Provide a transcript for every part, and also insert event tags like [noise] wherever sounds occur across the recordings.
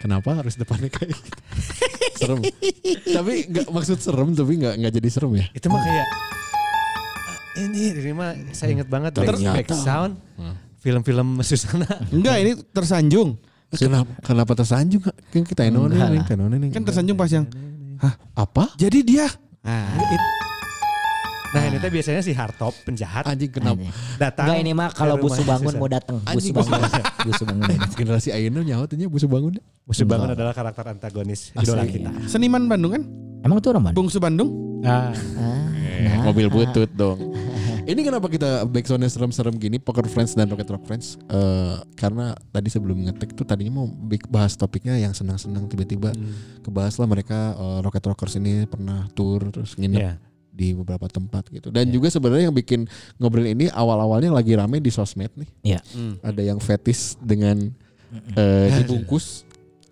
kenapa harus depannya kayak gitu. serem. tapi nggak maksud serem tapi nggak nggak jadi serem ya. Itu mah kayak "Ah, ini ini mah saya inget banget back, Ternyata. Hmm. back sound film-film Susana. [laughs] Enggak ini tersanjung. Nah. Kenapa kenapa tersanjung? Kan kita enonin, Enggak nih, lah. tenonin, nih. Kan tersanjung pas yang Hah apa? jadi dia. Nah, Nah, ini teh biasanya si Hartop penjahat Anjing kenapa? datang. Enggak ini mah kalau ke busu rumahnya bangun Susan. mau datang. Busu Anjing. bangun. busu bangun. [laughs] Generasi Ayeuna nyawatnya busu bangun. Busu bangun adalah karakter antagonis Asli. idola kita. seniman Bandung kan? Emang itu orang mana? Ah, Bungsu Bandung. Ah. Nah, Eh, mobil butut [laughs] dong. Ini kenapa kita backsoundnya serem-serem gini Poker Friends dan Rocket Rock Friends Eh, Karena tadi sebelum ngetek tuh tadinya mau bik- bahas topiknya yang senang-senang Ah. Tiba-tiba kebahaslah mereka eh, Rocket Rockers ini pernah tour Terus nginep Iya. di beberapa tempat gitu Dan juga sebenarnya yang bikin ngobrol ini Awal-awalnya lagi rame di sosmed nih Iya. Ada yang fetis dengan [laughs] eh, dibungkus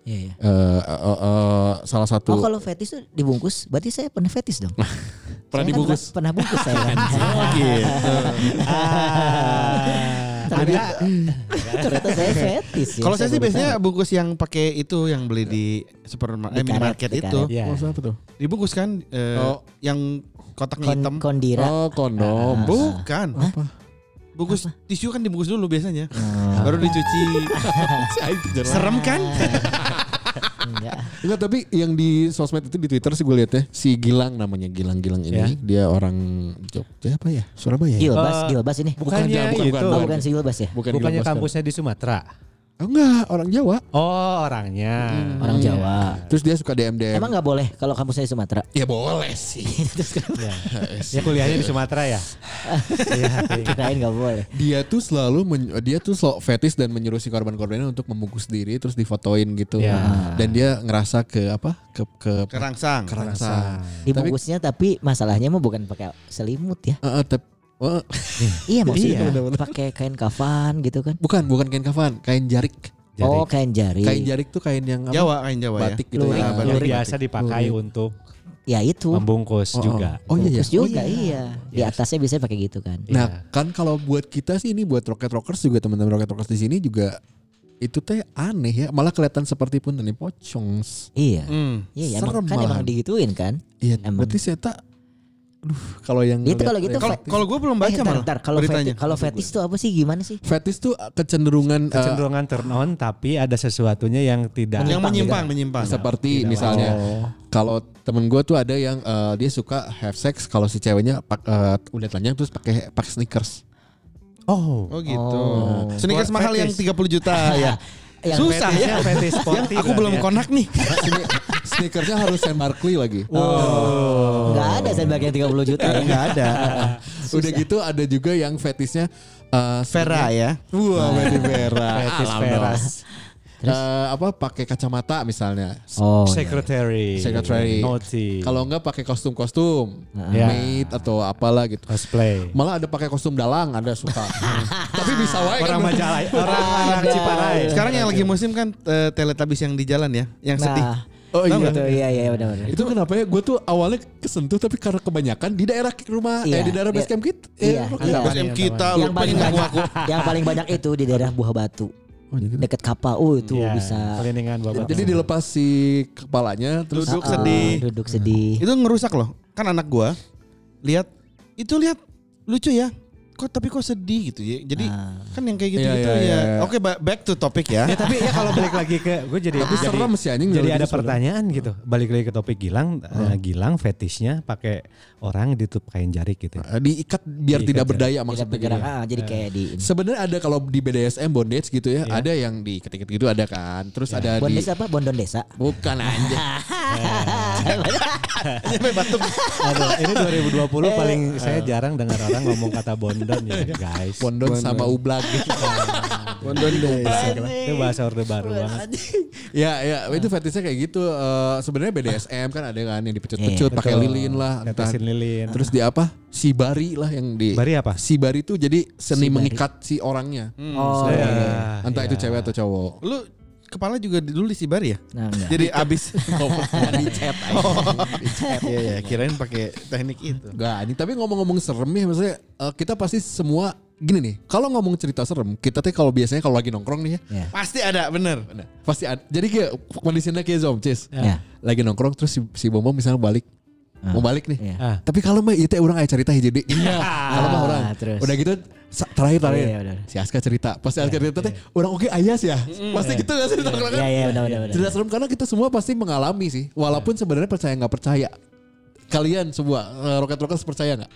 Iya iya. Eh, eh, eh, eh, Salah satu Oh kalau fetis tuh dibungkus, berarti saya pernah fetis dong. Pernah Saya kan dibungkus? pernah- pernah bungkus saya. kan. [laughs] Ah. ada Ah. Ternyata saya fetis. ya. Kalau saya sih baru biasanya bungkus yang pakai itu yang beli di supermarket Di eh, minimarket karet, iya. di itu. ya. Maksud apa tuh? Dibungkus kan eh, Oh. yang kotak tahu. Kon- hitam. kondira. Oh Ah. kondom Bukan. Apa? Bungkus tisu kan dibungkus dulu biasanya. Baru [laughs] dicuci. Si Aing tuh jarang. Serem kan? Enggak. Enggak tapi yang di sosmed itu di Twitter sih gue liatnya si Gilang namanya Gilang Gilang ini Ya. dia orang Jogja apa ya Surabaya ya? Gilbas, Eh, Gilbas ini. bukannya jangan, bukan, itu. bukan, Oh, bukan si Gilbas ya? Bukan Bukannya Gilang Boston. kampusnya di Sumatera. Oh, enggak orang Jawa Oh, orangnya. Orang Jawa. terus dia suka DM DM Emang nggak boleh kalau kampusnya di Sumatera. ya boleh sih Terus kan Ya. Ya, kuliahnya di Sumatera [laughs] ya. Iya, iya. kirain nggak boleh. dia tuh selalu men- dia tuh selalu fetis dan menyuruh si korban-korbannya untuk membungkus diri terus difotoin gitu Ya. dan dia ngerasa ke apa ke ke Kerangsang. kerangsa tapi Dibungkusnya tapi, masalahnya mah bukan pakai selimut ya. Eh, eh, tep- eh, Iya maksudnya Iya. pakai kain kafan gitu kan. bukan bukan kain kafan kain jarik Oh kain jari. kain jarik tuh kain yang apa? Jawa kain Jawa batik ya. gitu Lurik, ya Yang batik. Ah, biasa dipakai untuk Ya itu. membungkus Oh, oh. juga. oh iya ya Bungkus juga Oh, iya. Di atasnya biasanya pakai gitu kan. Nah, Iya. kan kalau buat kita sih ini buat Rocket Rockers juga teman-teman Rocket Rockers di sini juga itu teh aneh ya, malah kelihatan seperti pun ini pocong. Iya. Hmm. Iya, ya, Serem emang, kan malahan. emang digituin kan. Iya, Emang. berarti saya tak aduh kalau yang Itu ngeliat- kalau gitu Kalau Fe- kalau gue belum baca eh, ntar, malah. ntar, kalau beritanya. feti- kalau fetis itu apa sih gimana sih? fetis tuh kecenderungan, eh, Kecenderungan turn on tapi ada sesuatunya yang tidak gitu yang menyimpang, ya? menyimpang. Iya. seperti misalnya Oh. kalau temen gue tuh ada yang eh, dia suka have sex kalau si ceweknya pak- eh, udah telanjang terus pakai pakai sneakers. [laughs] Oh. Oh gitu. Oh. Sneakers Buat mahal yang fetis. 30 juta ya. [laughs] Ah, Yang Susah fetisnya ya. fetis Yang sporty aku kan belum ya. konak nih. Sini, sneakersnya harus Saint Barkley lagi. Enggak ada saya bagian 30 juta. ya. Iya. Enggak iya. ada. [laughs] Udah gitu ada juga yang fetisnya eh, Vera ya. Nah. Wah, Medi Vera. Fetis Alam peras. dong. Eh, apa pakai kacamata misalnya. Oh. Secretary. iya. Secretary. Naughty. Kalau enggak pakai kostum-kostum, Iya. Ya. maid atau apalah gitu. cosplay. Malah ada pakai kostum dalang, ada suka. Tapi bisa wae Orang kan. Majalaya, orang orang Iya. Ciparai. Iya, Sekarang yang lagi musim kan eh, teletabis yang di jalan ya, yang sedih. Nah, Oh iya. iya. Gitu, iya iya benar benar. Itu kenapa ya? Gue tuh awalnya kesentuh tapi karena kebanyakan di daerah rumah eh Iya. di daerah base camp kita. Iya. Eh, Iya. Terus yang kita lu Yang paling pengen ngaku banyak aku. yang paling banyak itu di daerah Buah Batu. oh, gitu. Dekat Kapal. Oh, itu Iya, bisa Pelindungan babat. Jadi dilepas si kepalanya terus Duduk Ah, sedih. Iya. Duduk sedih. Itu ngerusak loh. Kan anak gua lihat itu lihat lucu ya. Kok tapi kok sedih gitu ya. Jadi Nah. kan yang kayak gitu-gitu Iya, iya, ya. iya, iya. Oke, ba- back to topic Ya ya. tapi ya kalau balik lagi ke gue jadi Tapi jadi- serem sih anjing kalau Jadi ada gitu sebenarnya. pertanyaan gitu. Balik lagi ke topik Gilang, eh, Hmm. Gilang fetisnya pakai orang ditutup kain jarik gitu. Eh, diikat biar Diikat, tidak ya. berdaya Tidak maksudnya. gitu. bergerak. Ah, jadi kayak di Sebenarnya ada kalau di BDSM bondage gitu ya, ada yang di ketik gitu ada kan. Terus ada di Bondes apa? Bondon desa. bukan anjing. Sampai batuk. Aduh, ini Eh. 2020 paling saya jarang dengar orang ngomong kata bondon ya guys. Bondon sama ublag gitu. Bondon deh. Itu bahasa orde baru banget. ya ya Ah. itu fetishnya kayak gitu. Eh, Sebenarnya BDSM kan ada kan yang dipecut-pecut pakai Iya, Betul. lilin lah. entah. Tetesin lilin. Terus di apa? Si bari lah yang di Bari apa? Si bari tuh jadi seni mengikat si orangnya. Oh. Orangnya. iya. Entah itu cewek atau cowok. Lu kepala juga dulu disibar ya? Nah, [laughs] enggak. Jadi [laughs] abis Oh. Dicet. Iya ya, kirain pakai teknik itu. Gak, ini tapi ngomong-ngomong serem ya maksudnya eh, kita pasti semua gini nih, kalau ngomong cerita serem, kita teh kalau biasanya kalau lagi nongkrong nih ya, Iya. Ya. Pasti ada, bener. Nah, pasti ada. Jadi kayak kondisinya kayak zombies. Ya. Lagi nongkrong terus si, si Bombom misalnya balik. Ah. Mau balik nih. Iya. Iya. Ah. Tapi kalau mah itu orang aya cerita hiji deui. [laughs] Kalau mah Ah, orang. terus. Udah gitu sa- terakhir terakhir. Iya, benar. si Aska cerita. Pasti Aska cerita teh orang oke ayas ya. Pasti gitu enggak sih di nongkrongan? Iya, iya, benar, benar, benar. Cerita serem karena kita semua pasti mengalami sih. Walaupun sebenarnya percaya nggak percaya. Kalian semua roket roket percaya nggak?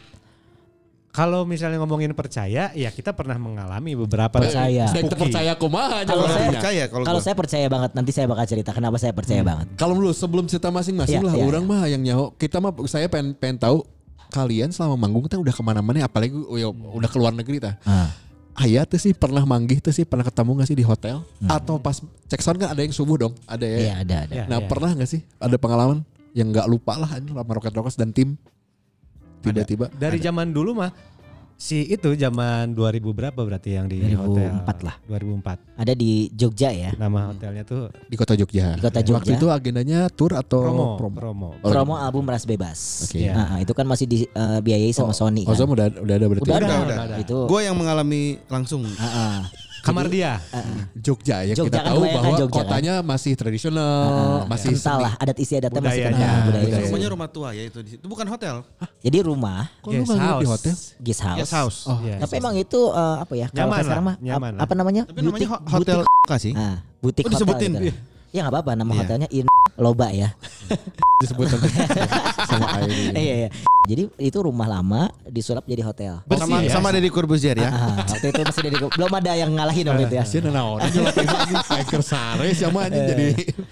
Kalau misalnya ngomongin percaya, ya kita pernah mengalami beberapa Percaya. Saya spooky. percaya kumaha aja Iya. Kalau Kalau orangnya. saya- percaya kalau Kalau gua. saya percaya banget nanti saya bakal cerita kenapa saya percaya banget. Kalau dulu sebelum cerita masing-masing Iya, lah, iya, orang mah yang nyaho. Kita mah saya pengen pengen tahu kalian selama manggung teh udah kemana-mana, apalagi u- ya, udah keluar negeri tah. Ah. Aya tuh sih pernah manggih tuh sih pernah ketemu gak sih di hotel atau pas cek sound kan ada yang subuh dong, ada ya. Hmm. Iya, ada ada. Ya, Nah ya. pernah gak sih ada pengalaman yang nggak lupa lah ini sama Rocket Rockers dan tim tiba-tiba dari zaman dulu mah si itu zaman 2000 berapa berarti yang di 2004 hotel? lah. 2004. Ada di Jogja ya. Nama Hmm. hotelnya tuh di kota Jogja. Di kota Jogja. Waktu itu agendanya tour atau Promo, promo? Promo. Oh, Promo album Ras Bebas. Oke. Ah, ah, itu kan masih dibiayai sama Sony Oh, kan. Zom udah udah ada berarti. Udah, ada, Udah, udah, udah. ada. Itu. Gue yang mengalami langsung. Ah, ah. Kamar dia. Jogja ya Jogja kita kan tahu kebanyakan bahwa Jogja kan. Ah, kotanya masih tradisional, masih kental lah adat istiadatnya masih Budayanya, kental budaya. budaya. Rumahnya rumah tua ya itu. di- Itu bukan hotel. Jadi rumah Kok lu nggak nginep di hotel? [laughs] guest house. Guest house. Oh, Iya. Tapi emang itu eh, apa ya? Kalau Nyaman kayak sekarang lah, mah ap- nyaman lah. apa namanya? Tapi namanya ho- hotel butik, kasih. ah, butik Oh, hotel disebutin. gitu lah. Ya nggak apa-apa nama Iya. hotelnya In Loba ya. disebut nanti [laughs] sama Eh, Airi. Iya iya. Jadi itu rumah lama disulap jadi hotel. Bersih Sama ya. sama Deddy Corbuzier ya. Ah, waktu itu masih dari belum ada yang ngalahin waktu itu ya. Sih nanaon aja latihan ini Iker Sare sama Eh. aja jadi.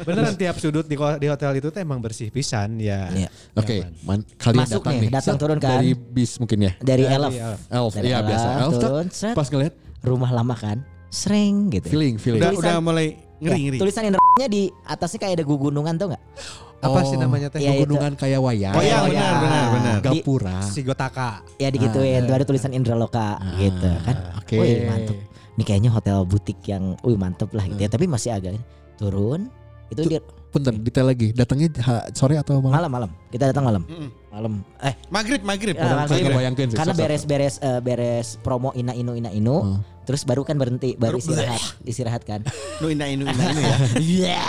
Beneran tiap sudut di, ko- di hotel itu tuh emang bersih pisan ya. Iya. Oke, man- kalian Masuk datang nih, nih. datang Set, turun kan. Dari bis mungkin ya. Dari Dari Elf. Elf. Elf, Dari iya Elf, biasa. Elf tak, turun, set. pas ngeliat Rumah lama kan. Sreng gitu. feeling feeling. Udah Tulisan- udah mulai Ya, ngeri-ngeri. Tulisan yang di atasnya kayak ada gunungan tau nggak? Apa Oh. sih namanya teh? Iya, iya. Pegunungan kayak wayang. Oh iya Kayak benar wayang. benar benar. Di- Gapura. Si Gotaka. Ya digituin, tuh ada tulisan Indraloka gitu kan. Ah, oke. Wih, mantep. Ini kayaknya hotel butik yang wih mantep lah gitu Hmm. ya, tapi masih agak turun. Itu di Punten detail lagi. Datangnya ha- sore atau malam? malam-malam. Kita datang malam. Mm-mm. Malam. Eh, Maghrib maghrib. Ya, Maghrib. maghrib. Saya ngebayangkeun sih. karena sosok. beres-beres eh, beres promo Ina Inu Ina Inu, Hmm. terus baru kan berhenti, baru Baru istirahat, istirahat [laughs] kan. Nu ina inu ina inu [laughs] ya. Iya.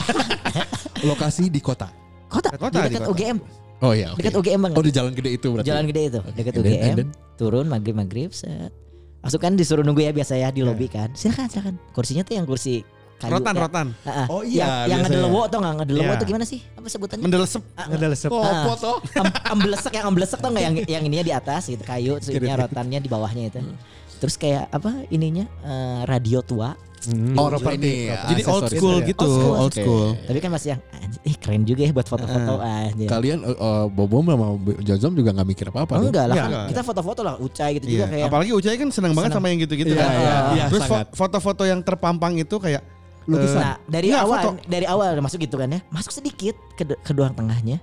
lokasi di kota. Kota, Kota, di di dekat kota. UGM, Oh iya, oke. dekat UGM banget. Oh di jalan gede itu berarti. Jalan gede itu, dekat and then- UGM. and then? Turun maghrib maghrib, set. Masuk kan disuruh nunggu ya biasa ya di lobi Iya. kan. Silakan silakan. Kursinya tuh yang kursi kayu. Rotan ya. rotan. Heeh. Oh iya, Yang, yang biasanya. ngedelewo tau nggak ngedelewo Iya. tuh gimana sih? Apa sebutannya? Mendelesep. Ngedelesep. Ah. Oh, foto. Em- Embelesek yang embelesek tau nggak yang yang ininya di atas gitu kayu, terus ininya rotannya di bawahnya itu. Hmm. Terus kayak apa ininya eh, radio tua. Hmm. Oh, ini. Jadi old aksesoris school ya. gitu, Old school. old Oke. school. Tapi kan masih yang anjir, eh keren juga ya buat foto-foto aja. Kalian eh, eh, Bobom sama Jozom juga nggak mikir apa-apa dong? enggak lah, Iya, kan enggak. kita foto-foto lah, ucai gitu juga Iya. kayak. Apalagi Ucai kan senang banget sama yang gitu-gitu Iya, kan. iya, iya, Terus sangat. fo- foto-foto yang terpampang itu kayak Oh, eh, Iya, Nah, dari Nggak, awal foto. dari awal masuk gitu kan ya. Masuk sedikit ke ke doang tengahnya.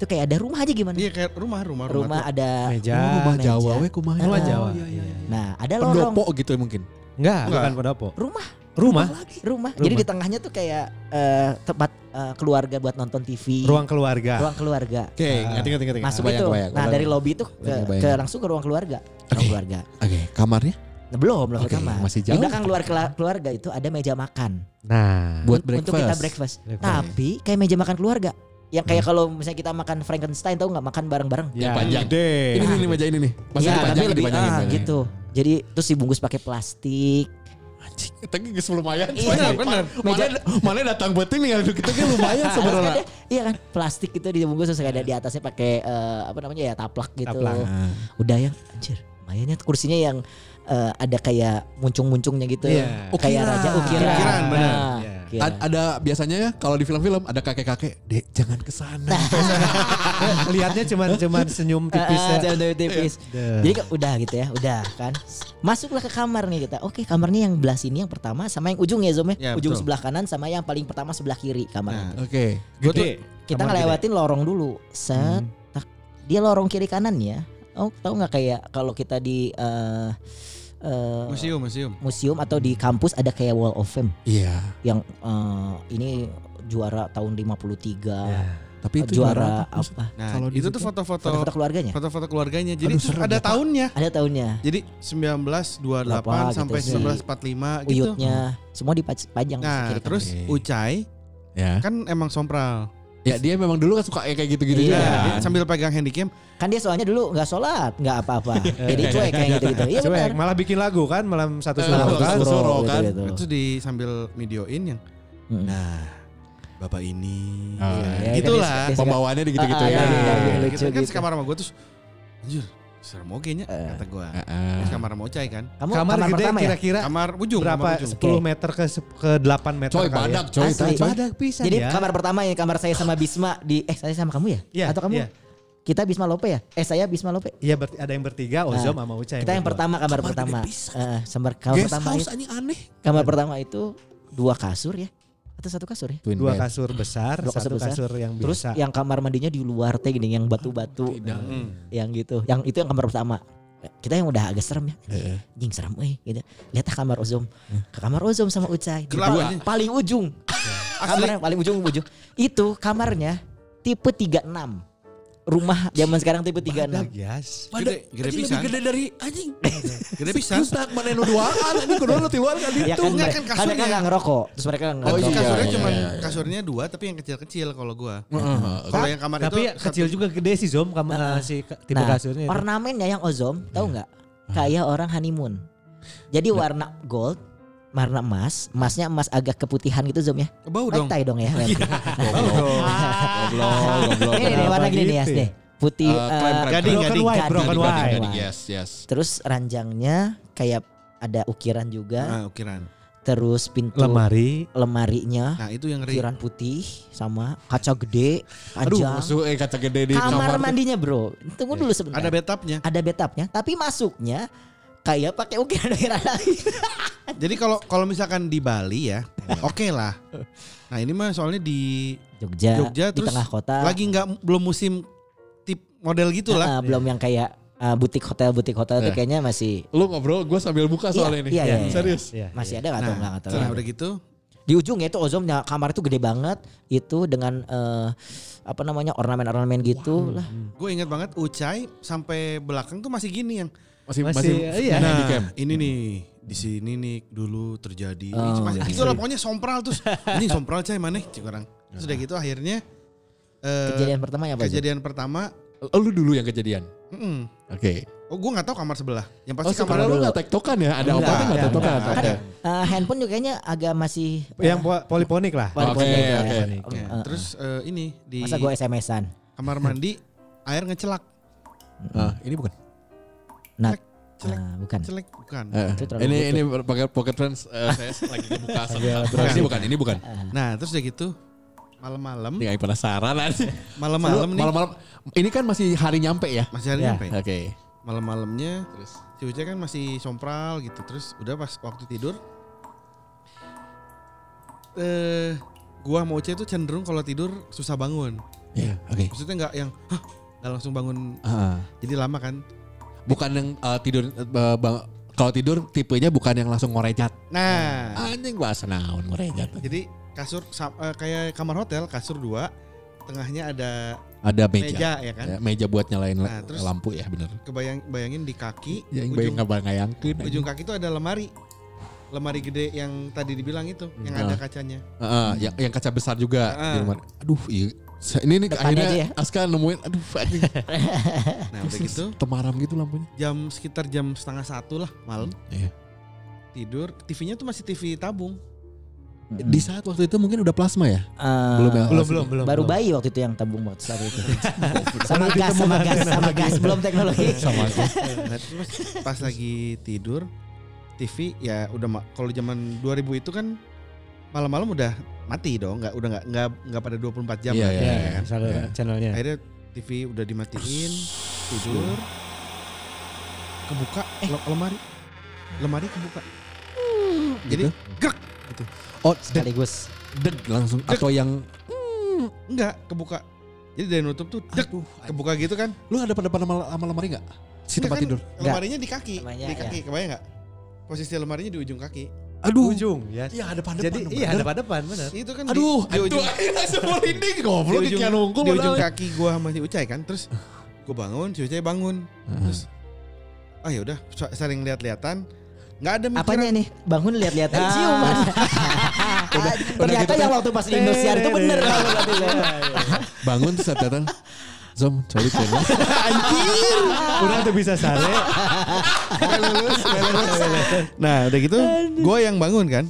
Itu kayak ada rumah aja gimana? Iya kayak rumah rumah rumah. rumah tua. ada Meja. Oh, rumah meja. Jawa we kumaha. Rumah Oh, Jawa. iya, iya, iya. Nah, ada lorong. Pendopo gitu mungkin. Enggak, Enggak. bukan pendopo. Rumah, Rumah, rumah. Rumah. Jadi di tengahnya tuh kayak eh, tempat eh, keluarga buat nonton TV. ruang keluarga. ruang keluarga. Oke, ngerti ngerti ngerti. Nah, Iya, Masuk Kebayang, itu. kebayang, nah, kebayang. dari lobby itu ke, Kebayang, ke kebayang. langsung ke ruang keluarga. Ruang Oke. keluarga. Oke, kamarnya Nah, belum, belum ke Oke, kamar. masih Di jauh. belakang keluar kela- keluarga itu ada meja makan. Nah, buat Un- breakfast. Untuk kita breakfast. Breakfast. Tapi kayak meja makan keluarga. Yang kayak kalau misalnya kita makan Frankenstein tahu nggak makan bareng-bareng. Yang panjang. Ya, gede. Ini nih, nih meja ini nih. Masih Nah. Iya, dipanjang tapi lebih dipanjangin. ah, dipanjangin. gitu. Jadi terus dibungkus pakai plastik. Anjing, kita geus lumayan. Iya, Mana- bener. Mana mana datang beuting nih kita ge [laughs] lumayan Nah, terus sebenarnya. kan dia- iya kan, plastik itu dibungkus terus ada di atasnya pakai eh, apa namanya ya taplak gitu. Taplak. Udah yang anjir, lumayannya kursinya yang eh, ada kayak muncung-muncungnya gitu. Iya. Kayak Ukiran. raja ukiran. Ukiran, benar. Nah, Iya. ukiran. A- [laughs] ada biasanya ya kalau di film-film ada kakek-kakek, "Dek, jangan ke Nah. sana." Lihatnya Eh, cuman cuman senyum tipis. Ah, ah, ya. jangan tipis. Duh. Jadi kan udah gitu ya, udah kan. Masuklah ke kamar nih kita. Oke, kamarnya yang belah sini yang pertama sama yang ujung ya Zom ya. Ya, ujung betul. sebelah kanan sama yang paling pertama sebelah kiri kamarnya. Nah, ya? Oke. Gua tuh- Gede. kita Kamar ngelewatin lorong dulu. Set. Hmm. tak. Dia lorong kiri kanan ya. Oh, tahu nggak kayak kalau kita di eh, eh, Museum museum. museum atau di kampus ada kayak wall of fame Iya. Ya. yang eh, ini juara tahun 53. Tapi itu juara apa? apa? Nah, Kalau di itu situ tuh foto-foto Foto-foto keluarganya. foto-foto keluarganya. Jadi Aduh, terus serem ada ya, Pak. tahunnya. Ada tahunnya. Jadi 1928 Berapa gitu sampai sih. 1945 gitu. Uyutnya Iya. semua dipajang di Nah, kiri kanan. terus Oke. Ucai Ya. kan emang sompral. Ya dia memang dulu kan suka kayak gitu-gitu juga. Iya. Nah, dia sambil pegang handycam, Kan dia soalnya dulu nggak sholat, nggak apa-apa. Jadi cuek kayak gitu-gitu. Iya benar. gitu, Cuek, malah bikin lagu kan malam satu Eh, suara lagu kan. satu Suro, kan? gitu-gitu. itu di sambil videoin yang Mm. nah, Bapak ini. Ah, Iya, kan dia- gitu lah. dia suka- Pembawaannya di gitu-gitu ya. Ah, iya, iya, iya, Nah, lucu gitu, kan gitu. Eh. sekamar sama gue terus anjir, serem oke nya kata gue. Heeh. Terus kamar sama Ucai kan. Kamu Kamar, gede pertama ya? kira-kira Kamar ujung, berapa? kamar ujung. 10 meter ke se- ke 8 meter Coy kali ya. badak coy. Asli. coy. Badak pisan Jadi ya. kamar pertama ya kamar saya sama Bisma di eh saya sama kamu ya? Iya, Atau kamu? iya. Kita Bisma Lope ya? Eh saya Bisma Lope. Iya berarti ada yang bertiga Ozom sama Uca Kita yang berdua. pertama kamar Kamar pertama. gede pisan. Eh, sambar- kamar Guest pertama house itu, anjing aneh. kamar pertama itu dua kasur ya? Atau satu kasur ya? Twin dua bed. kasur besar, Dua kasur satu besar. kasur yang Terus biasa. yang kamar mandinya di luar teh gini yang batu-batu. Tidak. Hmm. yang gitu yang itu yang kamar pertama kita yang udah agak serem ya Iya, jing serem eh gitu lihat ah kamar ozom ke kamar ozom sama ucai Di Gelap pa- aja. paling [laughs] ujung kamar yang paling ujung ujung itu kamarnya tipe 36 rumah zaman sekarang tipe 36 Yes. Gede, Badak gede anjing pisan. lebih gede dari anjing. Gede pisan. Terus tak mana nu duaan anjing kudu nu tiluan kali. ya Itu kan, mereka- enggak kan kan mereka kasurnya. nggak ngerokok terus mereka nggak Oh, Oh, ngerokok iya, Nah, kasurnya iya, cuma iya, iya. kasurnya dua tapi yang kecil-kecil kalau gua. Heeh. Kalau yang kamar Tapi itu ya kecil juga gede sih Zom kamu eh, si ke- tipe Nah, kasurnya. itu. ornamennya yang ozom tahu nggak Hmm. kayak orang honeymoon jadi warna gold warna emas emasnya emas agak keputihan gitu zom ya bau dong. Iya. Black tie [laughs] dong ya Goblok, goblok. Ini nih Kenapa warna gini nih ya, gitu nih. Putih Eh, klaim, eh, klaim, Gading, klaim. Broken gading, white, broken Gading, gading, white. gading, Yes, yes. terus ranjangnya kayak ada ukiran juga, Nah, ukiran. terus pintu Lemari. lemarinya Nah, itu yang ngeri. ukiran putih sama kaca gede, Aduh, panjang. musuh eh kaca gede di kamar kamar. mandinya, Bro. Tunggu dulu sebentar. Ada Ada, bathtubnya. bathtubnya, tapi masuknya kayak pakai ukiran-ukiran lagi. Jadi kalau kalau misalkan di Bali ya, Iya. oke lah. Nah, ini mah soalnya di Jogja, Jogja, di terus tengah kota. lagi nggak belum musim tip model gitu gitulah. Ah, belum yang kayak ah, butik hotel butik hotel itu Eh. kayaknya masih Lu ngobrol, gue sambil buka Iya, soalnya ini. iya, iya, iya. Eh, Serius. Iya, masih ada atau enggak Nah, atau setelah udah gitu, di ujung ya itu ozonnya kamar itu gede banget itu dengan eh, apa namanya ornamen-ornamen gitu lah gue ingat banget Ucai sampai belakang tuh masih gini yang. Masih Masih, masih iya. nah, di camp. Nah, ini nih di sini nih dulu terjadi. Ih, masih- iya. Itulah pokoknya sompral terus. Ini sompral cai mana cik orang. Terus udah gitu akhirnya eh, Ah. kejadian pertama ya apa Zul? kejadian pertama, eh, Lu dulu yang kejadian. mm-mm. Oke. oh gue nggak tahu kamar sebelah. Yang Oh, pasti kamar sebenarnya lu dulu. nggak tektokan ya? Ada Enggak, apa nggak enggak, tektokan? enggak. Oke. Kan, eh, handphone juga kayaknya agak masih eh, Yang po- poliponik lah. Oke, warna-warni ya. oke. Ya, Eh, eh, Terus eh, ini di masa gue SMS-an kamar mandi air ngecelak, Ah, ini bukan. nah Celek, celek. ah, bukan celek bukan. Eh, Itu terlalu ini butuh. ini pakai pocket trends eh, saya lagi buka. ini bukan, ini bukan. Nah terus udah gitu malam-malam, Ini kayak penasaran aja. malam-malam nih Iya. Malam-malam. Ini kan masih hari nyampe ya? masih hari Ya. nyampe. Oke. Malam-malamnya Terus. si Ucai kan masih sompral gitu. Terus udah pas waktu tidur, eh gua mau Ucai tuh cenderung kalau tidur susah bangun. Iya, oke. Maksudnya nggak yang Hah, nggak langsung bangun. Ah. Jadi lama kan. Bukan yang eh, tidur eh, bang- kalau tidur tipenya bukan yang langsung Iya. ngorejat. Nah Anjing bahasa naon ngorejat. jadi kasur sa- eh, kayak kamar hotel kasur dua, tengahnya ada Ada meja, meja. ya kan. Ya, meja buat nyalain Nah, la- terus- lampu ya bener. Kebayang bayangin di kaki Ya, yang bayang ujung, ngayangkeun. ujung kaki itu ada lemari. Lemari gede yang tadi dibilang itu, yang Ah. ada kacanya. Heeh, yang, yang kaca besar juga Heeh. di rumah. Aduh, iya. Sa- ini nih Depannya akhirnya aja ya. Aska nemuin aduh anjing. Nah udah [laughs] gitu [laughs] temaram gitu lampunya. jam sekitar jam setengah satu lah malam Iya. tidur TV-nya tuh masih TV tabung Di saat waktu itu mungkin udah plasma ya? Eh, Belum ya? Belum, belum, belum. baru belum. bayi waktu itu yang tabung waktu saat itu [laughs] sama gas sama gas sama gas belum [laughs] teknologi [laughs] Nah, terus [laughs] pas lagi tidur TV ya udah ma- kalau zaman 2000 itu kan malam-malam udah mati dong nggak udah nggak nggak nggak pada 24 jam Iya, lah, iya, Ya, ya iya. kan? saluran Ya. channelnya. akhirnya TV udah dimatiin tidur kebuka le- lemari lemari kebuka jadi Gitu? grek Oh, deg, sekaligus deg langsung atau yang hmm, enggak kebuka jadi dari nutup tuh dek aduh, anjing. kebuka gitu kan lu ada pada pada sama lemari enggak? Si tempat Enggak kan, tidur. iya. Lemarinya di kaki, Lemarinya, di kaki, kebayang nggak? Posisi lemarinya di ujung kaki. Aduh. Ujung ya. Iya ada pada Jadi iya hadapan-hadapan benar. Itu kan Aduh, di, di aduh, ujung, akhirnya semua dinding di goblok ujung- kayak nunggu di padahal. ujung kaki gua sama si Ucai kan. [laughs] Terus gua bangun, si Ucai bangun. Terus ah ya udah saling lihat-lihatan. Nggak ada Apanya mikiran. nih? Bangun lihat-lihat eh, ciuman. Ah. [laughs] Ternyata gitu yang kan? waktu pas di Indonesia itu bener. Iya, Bangun terus saat datang. Zom, cari [laughs] kena. Udah tuh bisa [laughs] sare. Nah udah gitu gua yang bangun kan.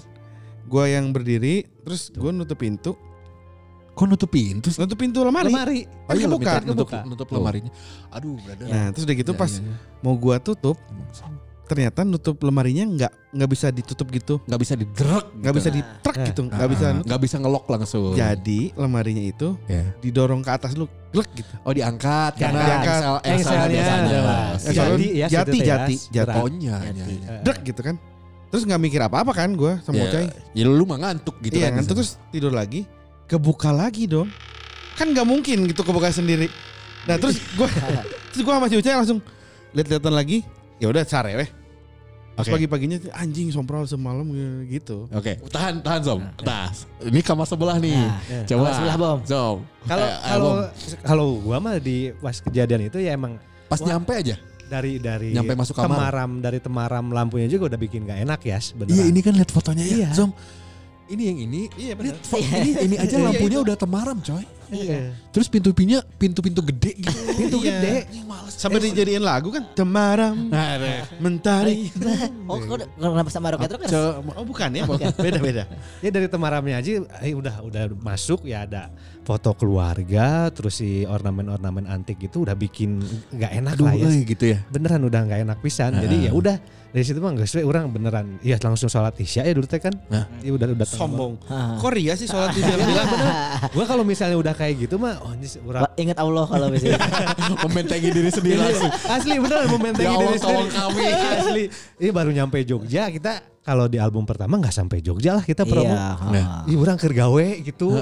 Gua yang berdiri. Terus gua nutup pintu. Kok nutup pintu sih? Nutup pintu lemari. Lemari. Kan iya, kebuka. lebih nutup, Kebuka. nutup lemarinya. Aduh, brother. Nah terus udah gitu Iya, pas iya, iya. mau gua tutup. Ternyata nutup lemarinya nggak nggak bisa ditutup gitu. nggak bisa diderek, Nggak bisa Nah. di truk Eh, gitu. Nggak bisa. nutup. kan. Ah, nggak bisa ngelok langsung. Jadi lemarinya itu Ya. didorong ke atas dulu. Glek gitu. Oh diangkat karena Diangkat. Excel Excel Excelnya biasanya. adalah Iya. Excel. jadi ya Jati, situ teh ya, jati, jati. berat. Ohnya, ya, ya. Dek gitu kan. Terus nggak mikir apa-apa kan gua sama Ya, Ucai. Ya lu mah ngantuk gitu iya kan. kan terus tidur lagi. Kebuka lagi dong. Kan nggak mungkin gitu kebuka sendiri. Nah [laughs] terus gua terus gua sama si Ucai langsung lihat-lihatan lagi. Ya udah sare weh. Terus Oke. pagi-paginya anjing sompral semalam gitu. Oke, tahan tahan Zom. Nah, ini kamar sebelah nih. Nah, Coba. kamar sebelah, Bom. Zom. Kalau Eh, eh, kalau Bom. kalau gua mah di pas kejadian itu ya emang pas nyampe aja. dari dari Nyampe masuk kamar. temaram dari temaram lampunya juga udah bikin gak enak ya sebenarnya. Iya, ini kan lihat fotonya ya, Iya. Zom. Ini yang ini. Iya bener. Lihat fo- ini ini [laughs] aja Iya, lampunya itu. udah temaram, coy. Iya. Terus pintu-pintunya pintu-pintu gede [laughs] gitu. pintu Iya. gede. Ini males. Sampai dijadiin lagu kan Temaram Eh, Nah, deh. Mentari Oh, kok kenapa sama Rocket Rockers? Oh bukan ya Beda-beda Ya dari temaramnya aja eh, udah udah masuk ya ada foto keluarga terus si ornamen-ornamen antik gitu udah bikin nggak enak Aduh, lah ya. eh, gitu ya. Beneran udah nggak enak pisan. Jadi ya udah dari situ mah nggak sesuai orang beneran ya langsung sholat isya ya dulu teh kan. Nah. [laughs] Ya udah udah tengah malam. Sombong Ah. Korea sih sholat di bilang Gua kalau misalnya udah kayak gitu mah oh ini orang Wah, Ingat Allah kalau misalnya. Membentengi diri sendiri langsung. Iya, Asli beneran Ya membentengi Allah, diri sendiri. tolong kami. Asli. Ini baru nyampe Jogja kita kalau di album pertama nggak sampai Jogja lah kita promo. Iya. Nah. ah. Ih orang kergawe gitu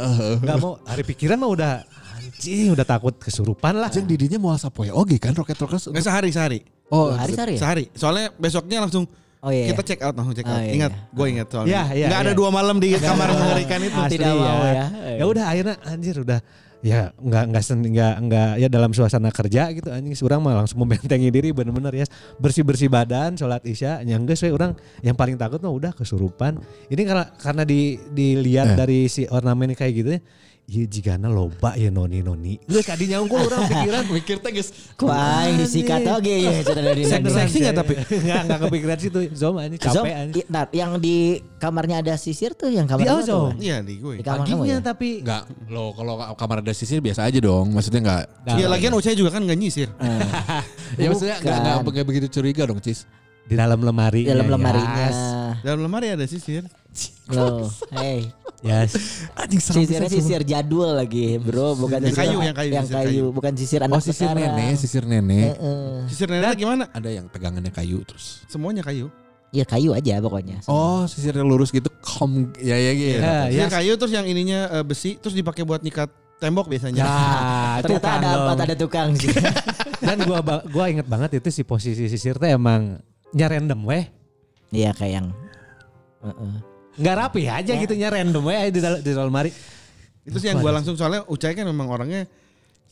Gak mau Hari pikiran mah udah Anjing udah takut kesurupan lah Jeng didinya mau asap ya. Oke kan Rocket Rockers. Nggak sehari-sehari Oh, Dua hari sehari ya? Sehari Soalnya besoknya langsung Oh iya. Kita check out langsung check Oh, out iya, Ingat iya. Gue ingat soalnya Iya, iya, Nggak ada iya. dua malam di kamar mengerikan itu Asli Tidak mau ya. Ya udah akhirnya anjir udah ya nggak nggak sen nggak nggak ya dalam suasana kerja gitu anjing seorang mah langsung [laughs] membentengi diri bener-bener ya bersih bersih badan sholat isya nyangges we orang yang paling takut mah udah kesurupan ini karena karena di dilihat dari si ornamen kayak gitu ya iya jigana loba ya noni noni udah kadi nyangkul orang [laughs] pikiran Mikir teh guys. Ku aing disikat oge ya cenah dari Beneran, Indonesia. Shay. nggak tapi nggak nggak kepikiran situ Zom anjing Zom, capek anjing i- nah, yang di kamarnya ada sisir tuh yang kamar Di kamu tuh, Ozom. Wan. Iya di gue Di kamar kamu paginya ya. tapi Enggak, lo kalau kamar ada sisir biasa aja dong. Maksudnya enggak Nah, Iya lagian Ucai juga kan nggak nyisir Ya maksudnya enggak enggak enggak begitu curiga dong, Cis. di dalam lemari di dalam Iya, lemarinya. Dalam lemari ada sisir Loh, hey. yes Anjing Sisirnya sisir jadul lagi, Bro, bukan Yang sisir- kayu, yang kayu, yang sisir kayu, kayu. bukan sisir anak Oh, sisir sekarang. Eh. nenek, sisir nenek. Heeh. Sisir nenek gimana Ada yang pegangannya kayu terus. Semuanya kayu Ya kayu aja pokoknya. Oh, sisirnya lurus gitu. Kom ya ya gitu. Ya, Sisir kayu terus yang ininya eh, besi Terus dipakai buat nyikat tembok Ya, [laughs] biasanya ah, Ternyata ada empat ada tukang sih. kan, Dan gua ba- gua inget banget itu si posisi sisir teh emang nya random weh. Iya kayak yang Heeh. Nggak rapi aja gitu nya random weh di dalam di dalam lemari. Itu sih yang gue langsung soalnya Ucai kan memang orangnya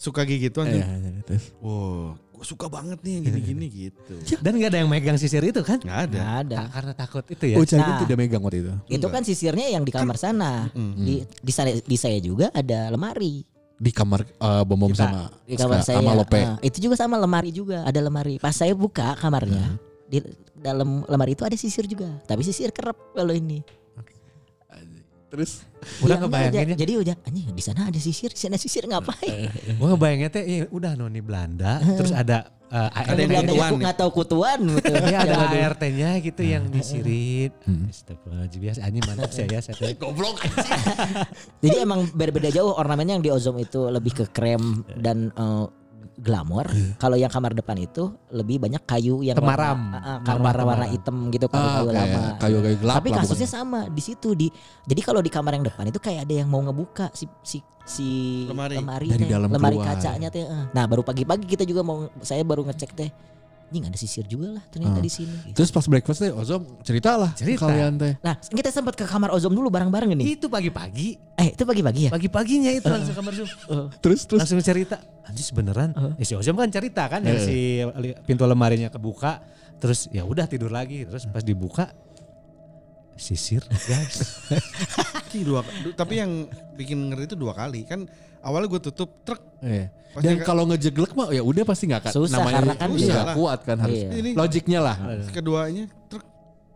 Suka kayak gituan Iya, kan. iya, terus. Wow gue suka banget nih yang gini-gini gitu Dan nggak ada yang megang sisir itu kan? Nggak ada Nggak ada. Tak- karena takut itu ya. Oh, Cai pun Nah. tidak megang waktu itu. Itu kan sisirnya yang di kamar sana. Di di saya, di saya juga ada lemari. Di kamar eh, bom bom Kita- sama di kamar saya. sama Lope. Ah, itu juga sama lemari juga, ada lemari. Pas saya buka Hmm. kamarnya, di dalam lemari itu ada sisir juga, tapi sisir kerap kalau ini. Terus Udah Iya, ngebayangin aja. ya. Jadi udah anjing di sana ada sisir, di sana sisir ngapain? Eh, Gua ngebayangnya teh iya, udah noni Belanda terus ada eh, ART. Ada yang Belanda kutuan aku nih. nggak tahu kutuan gitu. Iya, ada Coba dulu. ART-nya gitu yang nyisirin. Astagfirullahaladzim biasa anjing mantap sih ya satu. goblok. Jadi emang berbeda jauh ornamennya yang di Ozom itu lebih ke krem dan eh, glamor. Iya. Kalau yang kamar depan itu lebih banyak kayu yang Temaram. kamar warna ah, Temaram. hitam gitu kayu, Ah, kayu kayak lama. kayu-kayu gelap Tapi lah kasusnya sama di situ di. Jadi kalau di kamar yang depan itu kayak ada yang mau ngebuka si si si Lemari. Dari teh, dalam lemari keluar. kacanya teh. eh. Nah baru pagi-pagi kita juga mau saya baru ngecek teh. anjing ada sisir juga lah ternyata Ah. di sini. gitu. Terus pas breakfast teh Ozom cerita lah Cerita. kalian teh. Nah, kita sempat ke kamar Ozom dulu bareng-bareng nih. Itu pagi-pagi, Eh, itu pagi-pagi ya? pagi-paginya itu langsung kamar Zoom. Terus terus langsung cerita anjir beneran Eh, si Ozom kan cerita kan yang Heeh. si li- pintu lemarinya kebuka terus ya udah tidur lagi terus pas dibuka sisir guys Ki, dua- du- tapi yang bikin ngeri itu dua kali kan awalnya gue tutup truk Iya. Pasti Dan nggak- kalau ngejeglek mah ya udah pasti nggak akan Susah, karena kan susah iya. nggak kuat kan harus. Iya. Ini- Logiknya lah. keduanya truk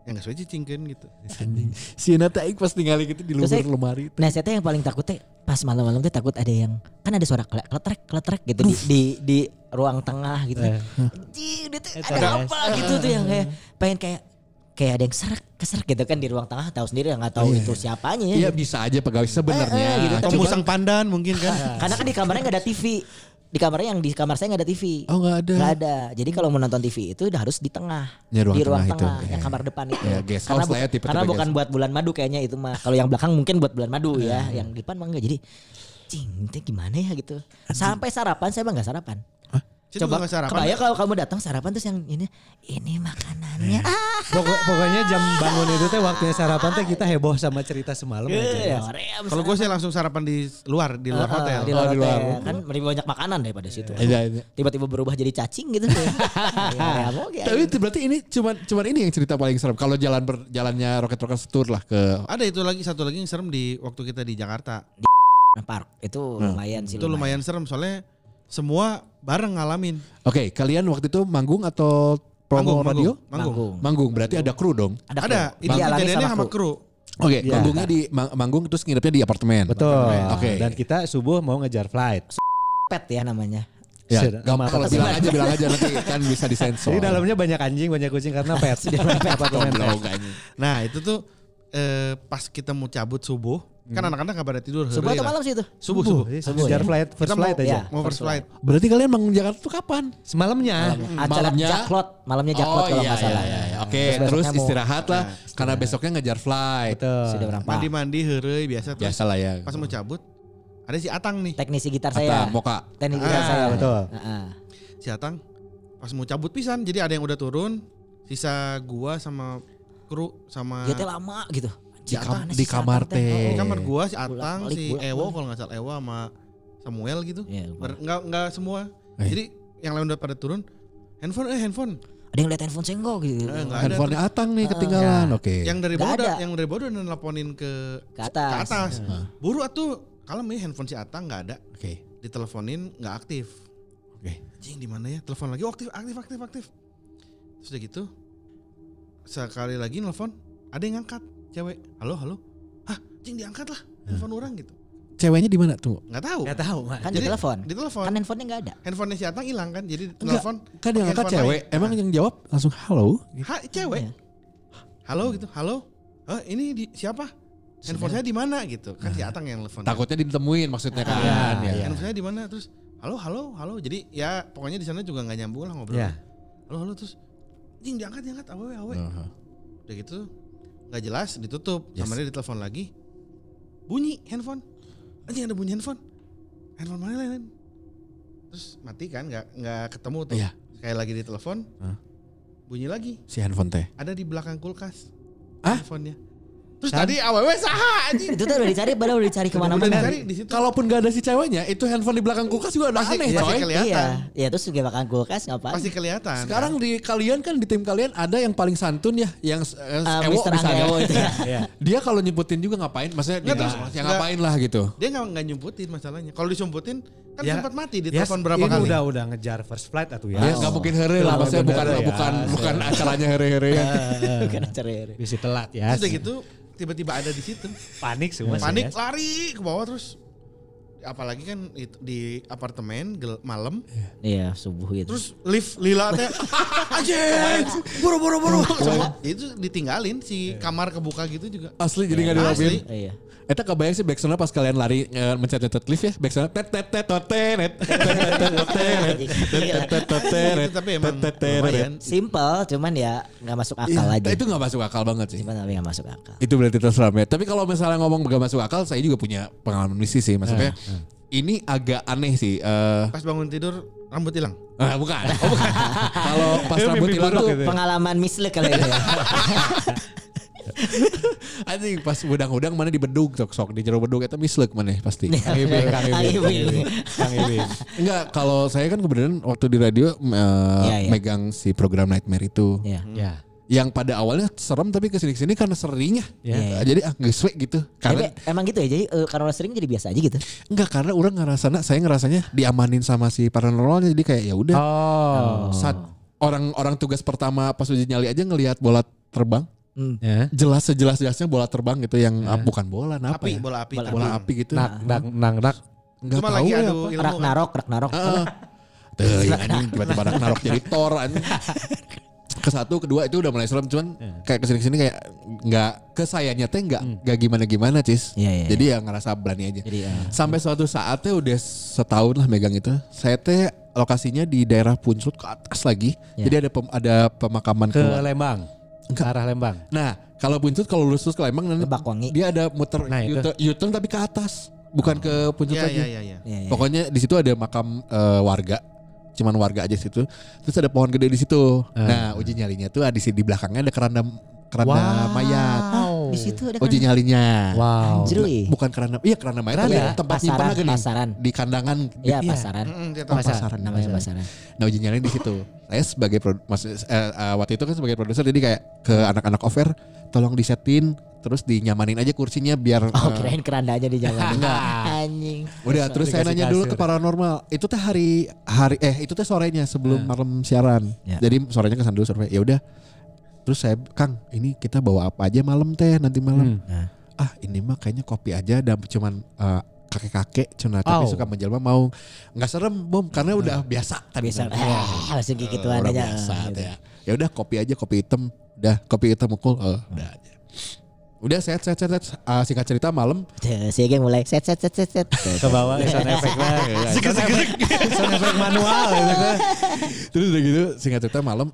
yang nggak sesuai cicingkan gitu Anjing. Si Nata Aik pas tinggal gitu di Terus luar Aik- lemari. Nah, saya teh yang paling takut teh pas malam-malam teh takut ada yang kan ada suara kle- kletrek kletrek gitu di, di di ruang tengah gitu. Eh. Anjing, dia tuh Eh, ada terus. apa gitu tuh yang kayak Hmm. pengen kayak kayak ada yang serak keserak gitu kan di ruang tengah tahu sendiri nggak tahu itu siapanya Oh, Iya gitu. bisa aja pegawai sebenarnya. Eh, eh, gitu. atau Cuman- musang pandan mungkin kan Karena kan di kamarnya nggak ada TV. Di kamarnya yang di kamar saya nggak ada TV. Oh nggak ada. Nggak ada. Jadi kalau mau nonton TV itu udah harus di tengah. Ya, ruang di ruang tengah itu. tengah, yang Ya. kamar depan itu. Ya, guest karena house lah ya, bu- tipe-tipe karena guest Hmm. bukan buat bulan madu kayaknya itu mah. Kalau yang belakang mungkin buat bulan madu ya, yang di depan mah enggak. Jadi cing, itu gimana ya gitu. Sampai sarapan saya mah enggak sarapan. Jadi gua nggak sarapan kebayang kalau kamu datang sarapan terus yang ini ini makanannya. Ah, Pokok- pokoknya jam bangun itu teh waktunya sarapan teh kita heboh sama cerita semalam ya, aja. ream, kalau gue sih langsung sarapan di luar di luar sarapan. hotel Ah, Di Oh, luar di hotel. luar. Kan lebih banyak makanan daripada situ. Iya, iya. Tiba-tiba berubah jadi cacing [laughs] gitu. ya, ream oke. Tapi itu berarti ini cuman cuman ini yang cerita paling serem. Kalau jalan ber- jalannya Rocket Rocket Tour lah ke ada itu lagi satu lagi yang serem di waktu kita di Jakarta Nah, park itu Hmm. lumayan sih. itu lumayan serem soalnya semua bareng ngalamin Oke, kalian waktu itu manggung atau promo radio? manggung, manggung. Manggung. Manggung, berarti ada kru dong. ada kru. itu Dialami kejadiannya sama kru Oke, Iya. manggungnya di mang- manggung terus nginepnya di apartemen. Betul. Oke. Dan kita subuh mau ngejar flight. pet ya namanya. Ya, Sudah, gampang sama kalau apartemen. bilang aja bilang aja nanti kan bisa disensor. Jadi dalamnya banyak anjing, banyak kucing karena pet. Apartemen pet. goblok anjing. nah itu tuh eh, pas kita mau cabut subuh kan anak-anak nggak pada tidur Subuh hari atau lah. malam sih itu? subuh Subuh, subuh jadi Subuh, ngejar ya? flight, first Kita flight mau- aja. ya. mau first flight Berarti kalian manggung Jakarta tuh kapan? Semalamnya. Acara Malamnya? Oh, jaklot, malamnya jaklot kalau nggak salah. iya, iya. Oke, Terus besoknya terus mau- istirahat lah karena besoknya ngejar flight. Betul. Sudah berapa? mandi-mandi heureuy biasa terus Biasa lah ya. pas mau cabut ada si Atang nih Teknisi gitar Kata saya. Moka. Teknisi gitar Ah, saya. betul. Heeh. si Atang pas mau cabut pisan jadi ada yang udah turun sisa gua sama kru sama Dia teh lama gitu. Di kam- di Gimana sih si kamar Atang teh? Oh, teh. di kamar gua si Atang Bolak-balik, si bolak-balik. Ewo kalau nggak salah Ewo sama Samuel gitu Iya, lupa. Ber- nggak nggak semua Eh. jadi yang lain udah pada turun handphone eh handphone Ada yang lihat handphone saya enggak gitu. Eh, nggak ada. Handphonenya Atang nih ketinggalan. Oke. yang dari Nggak bawah udah- ada. yang dari bawah udah nelponin ke Ke atas. ke atas buru atuh kalem ya handphone si Atang nggak ada Oke. diteleponin nggak aktif Oke. Jing di mana ya? Telepon lagi. Oh, aktif, aktif, aktif, aktif. Terus udah gitu sekali lagi nelfon, ada yang ngangkat, cewek. Halo, halo. Hah, jing diangkat lah. Telepon orang gitu. Ceweknya di mana tuh? Nggak tahu. Gak tahu, Mak. Kan di Jadi, telepon. Di telepon. Kan handphonenya enggak ada. Handphonenya si Atang hilang kan, jadi Enggak, nelfon. Kan yang pakai angkat handphone cewek, lain. emang yang jawab langsung halo. Ha, cewek. Iya. Halo gitu. Halo. Eh, ini di siapa? Handphone saya di mana gitu. Kan si Atang yang nelfon. Takutnya ditemuin maksudnya kan. ya. Handphone saya di mana? Terus halo, halo, halo. Jadi ya pokoknya di sana juga nggak nyambung lah ngobrol. Iya. Ya. Halo, halo terus jing diangkat, diangkat. Awe, awe. Aha. Udah gitu nggak jelas ditutup Hmm. Yes. sama dia ditelepon lagi bunyi handphone anjing ada bunyi handphone handphone mana lain terus mati kan nggak nggak ketemu tuh Iya. sekali lagi ditelepon Hah? bunyi lagi Si handphone teh. ada di belakang kulkas Hah? handphonenya terus Kan? tadi aww saha anjing Itu tuh udah dicari, padahal udah dicari kemana udah mana dicari di situ Kalaupun gak ada si ceweknya, itu handphone di belakang kulkas juga udah Masih- aneh masih coy. kelihatan. Iya, ya terus juga makan kulkas ngapain? pasti kelihatan Sekarang di kalian kan di tim kalian ada yang paling santun ya, yang eh, Eh, Ewo Mr. misalnya. Angga Ewo itu ya. Iya. [laughs] Dia kalau nyebutin juga ngapain? Maksudnya dia Nggak, terus ya nggak- ngapain lah gitu. dia nggak nggak nyumputin masalahnya kalau disumputin kan Ya. sempat mati di Ya, telepon berapa ini kali Udah udah ngejar first flight atau ya. Ya nggak iya. mungkin here lah, Nggak maksudnya mungkin bukan here ya. bukan bukan acaranya here-here ya. Bukan acara. Iya. Bisa telat ya. terus udah gitu tiba-tiba ada di situ panik semua sih, ya. panik lari ke bawah terus apalagi kan itu di apartemen gel- malam Iya, subuh gitu. terus lift lila teh anjing buru buru buru Semua- itu ditinggalin si kamar kebuka gitu juga Asli jadi nggak dilakuin. asli iya. Eta kebayang sih backsoundnya pas kalian lari e, mencet mencet lift ya backsoundnya tet tet tet totenet tet tet tet totenet tet tet tet totenet Iya, tapi emang tet, tet, lumayan Simple, cuman ya nggak masuk Iya, akal aja. Itu nggak masuk akal banget sih. Cuman tapi nggak masuk akal. Itu berarti terseram ya. Tapi kalau misalnya ngomong gak masuk akal, saya juga punya pengalaman misi sih. Maksudnya ini agak aneh sih. Eh, pas bangun tidur rambut hilang. Ah, bukan. Oh, bukan. Kalau pas Itu rambut mimpi hilang buruk tuh gitu Iya. ya. Pengalaman misle kali [laughs] itu ya. anjing pas udang-udang mana di bedug sok sok di jero bedug eta mislek mana pasti. Kang Ibing, Kang Ibing, Kang Ibing. Kang Ibing. Enggak, kalau saya kan kebetulan waktu di radio em, eh, Iya, iya. megang si program Nightmare itu. Iya. Ya. Yang pada awalnya serem tapi kesini sini karena seringnya. Iya. Eh, Jadi ah geus we gitu. Karena Tapi emang gitu ya. Jadi eh, karena sering jadi biasa aja gitu. enggak karena orang ngerasana saya ngerasanya diamanin sama si paranormalnya jadi kayak ya udah Oh. saat orang-orang tugas pertama pas uji nyali aja ngelihat bola terbang Hmm. Ya. jelas sejelas-jelasnya bola terbang gitu yang ah, bukan bola nah apa api, ya? bola api. Bola bola terbang. api gitu Nak, nak, nang, nak. nggak Cuma tahu lagi ya adu apa. ilmu. kan. Ragnarok, Ragnarok. Heeh. Tuh, ya, anjing tiba-tiba anak narok jadi Thor anjing. Ke satu, kedua itu udah mulai serem cuman kayak kesini kesini kayak nggak ke sayanya teh nggak nggak gimana gimana cis. Iya, iya, Jadi ya ngerasa berani aja. Jadi, ya. Sampai suatu saatnya udah setahun lah megang itu. Saya teh lokasinya di daerah Punsut ke atas lagi. Iya. Jadi ada pem- ada pemakaman Ke keluarga. Lembang. Ke arah Lembang. Nah, kalau Punsut kalau lurus terus ke Lembang nanti Lebak Wangi. dia ada muter Nah, itu. U-turn- U-turn tapi ke atas, bukan ke Punsut Iya, lagi. iya, iya, iya. Iya, iya. Pokoknya di situ ada makam eh, warga, cuman warga aja situ. Terus ada pohon gede di situ. Eh. Nah, uji nyalinya tuh ah, di sini di belakangnya ada keranda keranda mayat. Di situ ada Uji kan. nyalinya. Wow. Anjir. Jeruy. Bukan keranda, iya keranda mayat Keranda. tapi tempat Pasaran, nyimpan gini. pasaran. Di kandangan. Ya Iya. pasaran. Mm-mm, dia Oh, tahu. pasaran. Namanya pasaran. pasaran. Nah uji nyali di situ. Saya sebagai pro, mas, eh, eh, waktu itu kan sebagai produser jadi kayak ke anak-anak offer tolong disetin terus dinyamanin aja kursinya biar eh, Oh kirain keranda aja di [laughs] jalan. Anjing. Udah terus saya Dikasih nanya dulu ke kasur. paranormal. Itu teh hari hari eh itu teh sorenya sebelum malam siaran. Hmm. Ya. Jadi sorenya kesan dulu survei. Ya udah. Terus saya Kang, ini kita bawa apa aja malam teh nanti Hmm. malam. Nah. Ah, ini mah kayaknya kopi aja dan cuman eh, kakek-kakek cuna tapi Oh. suka menjelma mau nggak serem bom karena udah biasa tadi Bisa. [laughs] bilang. Ah, langsung gigit tuh Udah Hmm. adanya. Eh, biasa Gitu. teh. ya udah kopi aja kopi hitam udah kopi hitam mukul eh, Hmm. udah aja udah sehat sehat sehat, sehat. Ah, singkat cerita malam Tuh, Si geng mulai set set set set set. Ke bawah eh, sound effect lah. Sound effect- sound effect manual gitu kan. [laughs] Terus udah gitu singkat cerita malam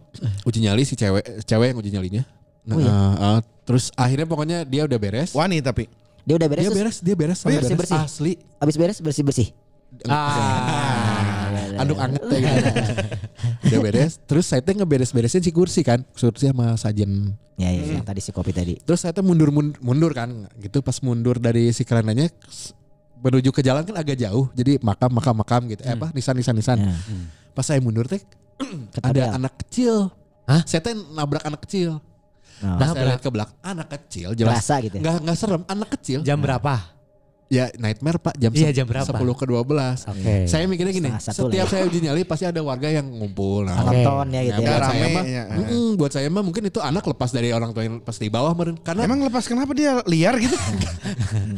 uji nyali si cewek cewek yang uji nyalinya. Oh Nah, iya? eh, eh, terus akhirnya pokoknya dia udah beres. Wani tapi. Dia udah beres Dia terus beres, dia beres sampai Bersih, beres. bersih. Asli. Abis beres bersih bersih. Ah. Aduk Iya. anget teh [laughs] gitu. Udah beres, terus saya teh ngeberes-beresin si kursi kan, kursi sama sajen. Ya ya Hmm. yang tadi si kopi tadi. Terus saya teh mundur mun- mundur kan, gitu pas mundur dari si kerananya s- menuju ke jalan kan agak jauh, jadi makam makam makam gitu, eh, apa nisan nisan nisan. Ya. Pas saya mundur teh Ketabrak. Hmm. ada anak kecil. Hah? Saya teh nabrak anak kecil. Oh. Pas saya lihat ke belakang anak kecil nah, jelas Kerasa gitu ya? nggak nggak serem anak kecil Jam berapa? ya nightmare pak jam Iya, se- jam berapa? 10 ke 12 Oke. saya mikirnya gini Setengah satu lah setiap ya. saya uji nyali pasti ada warga yang ngumpul nah, Oke. Nonton ya Nah, gitu ya. buat saya Rame, mah, ya. mm, buat saya mah mungkin itu anak lepas dari orang tua yang pas di bawah meren. karena Emang lepas kenapa dia liar gitu?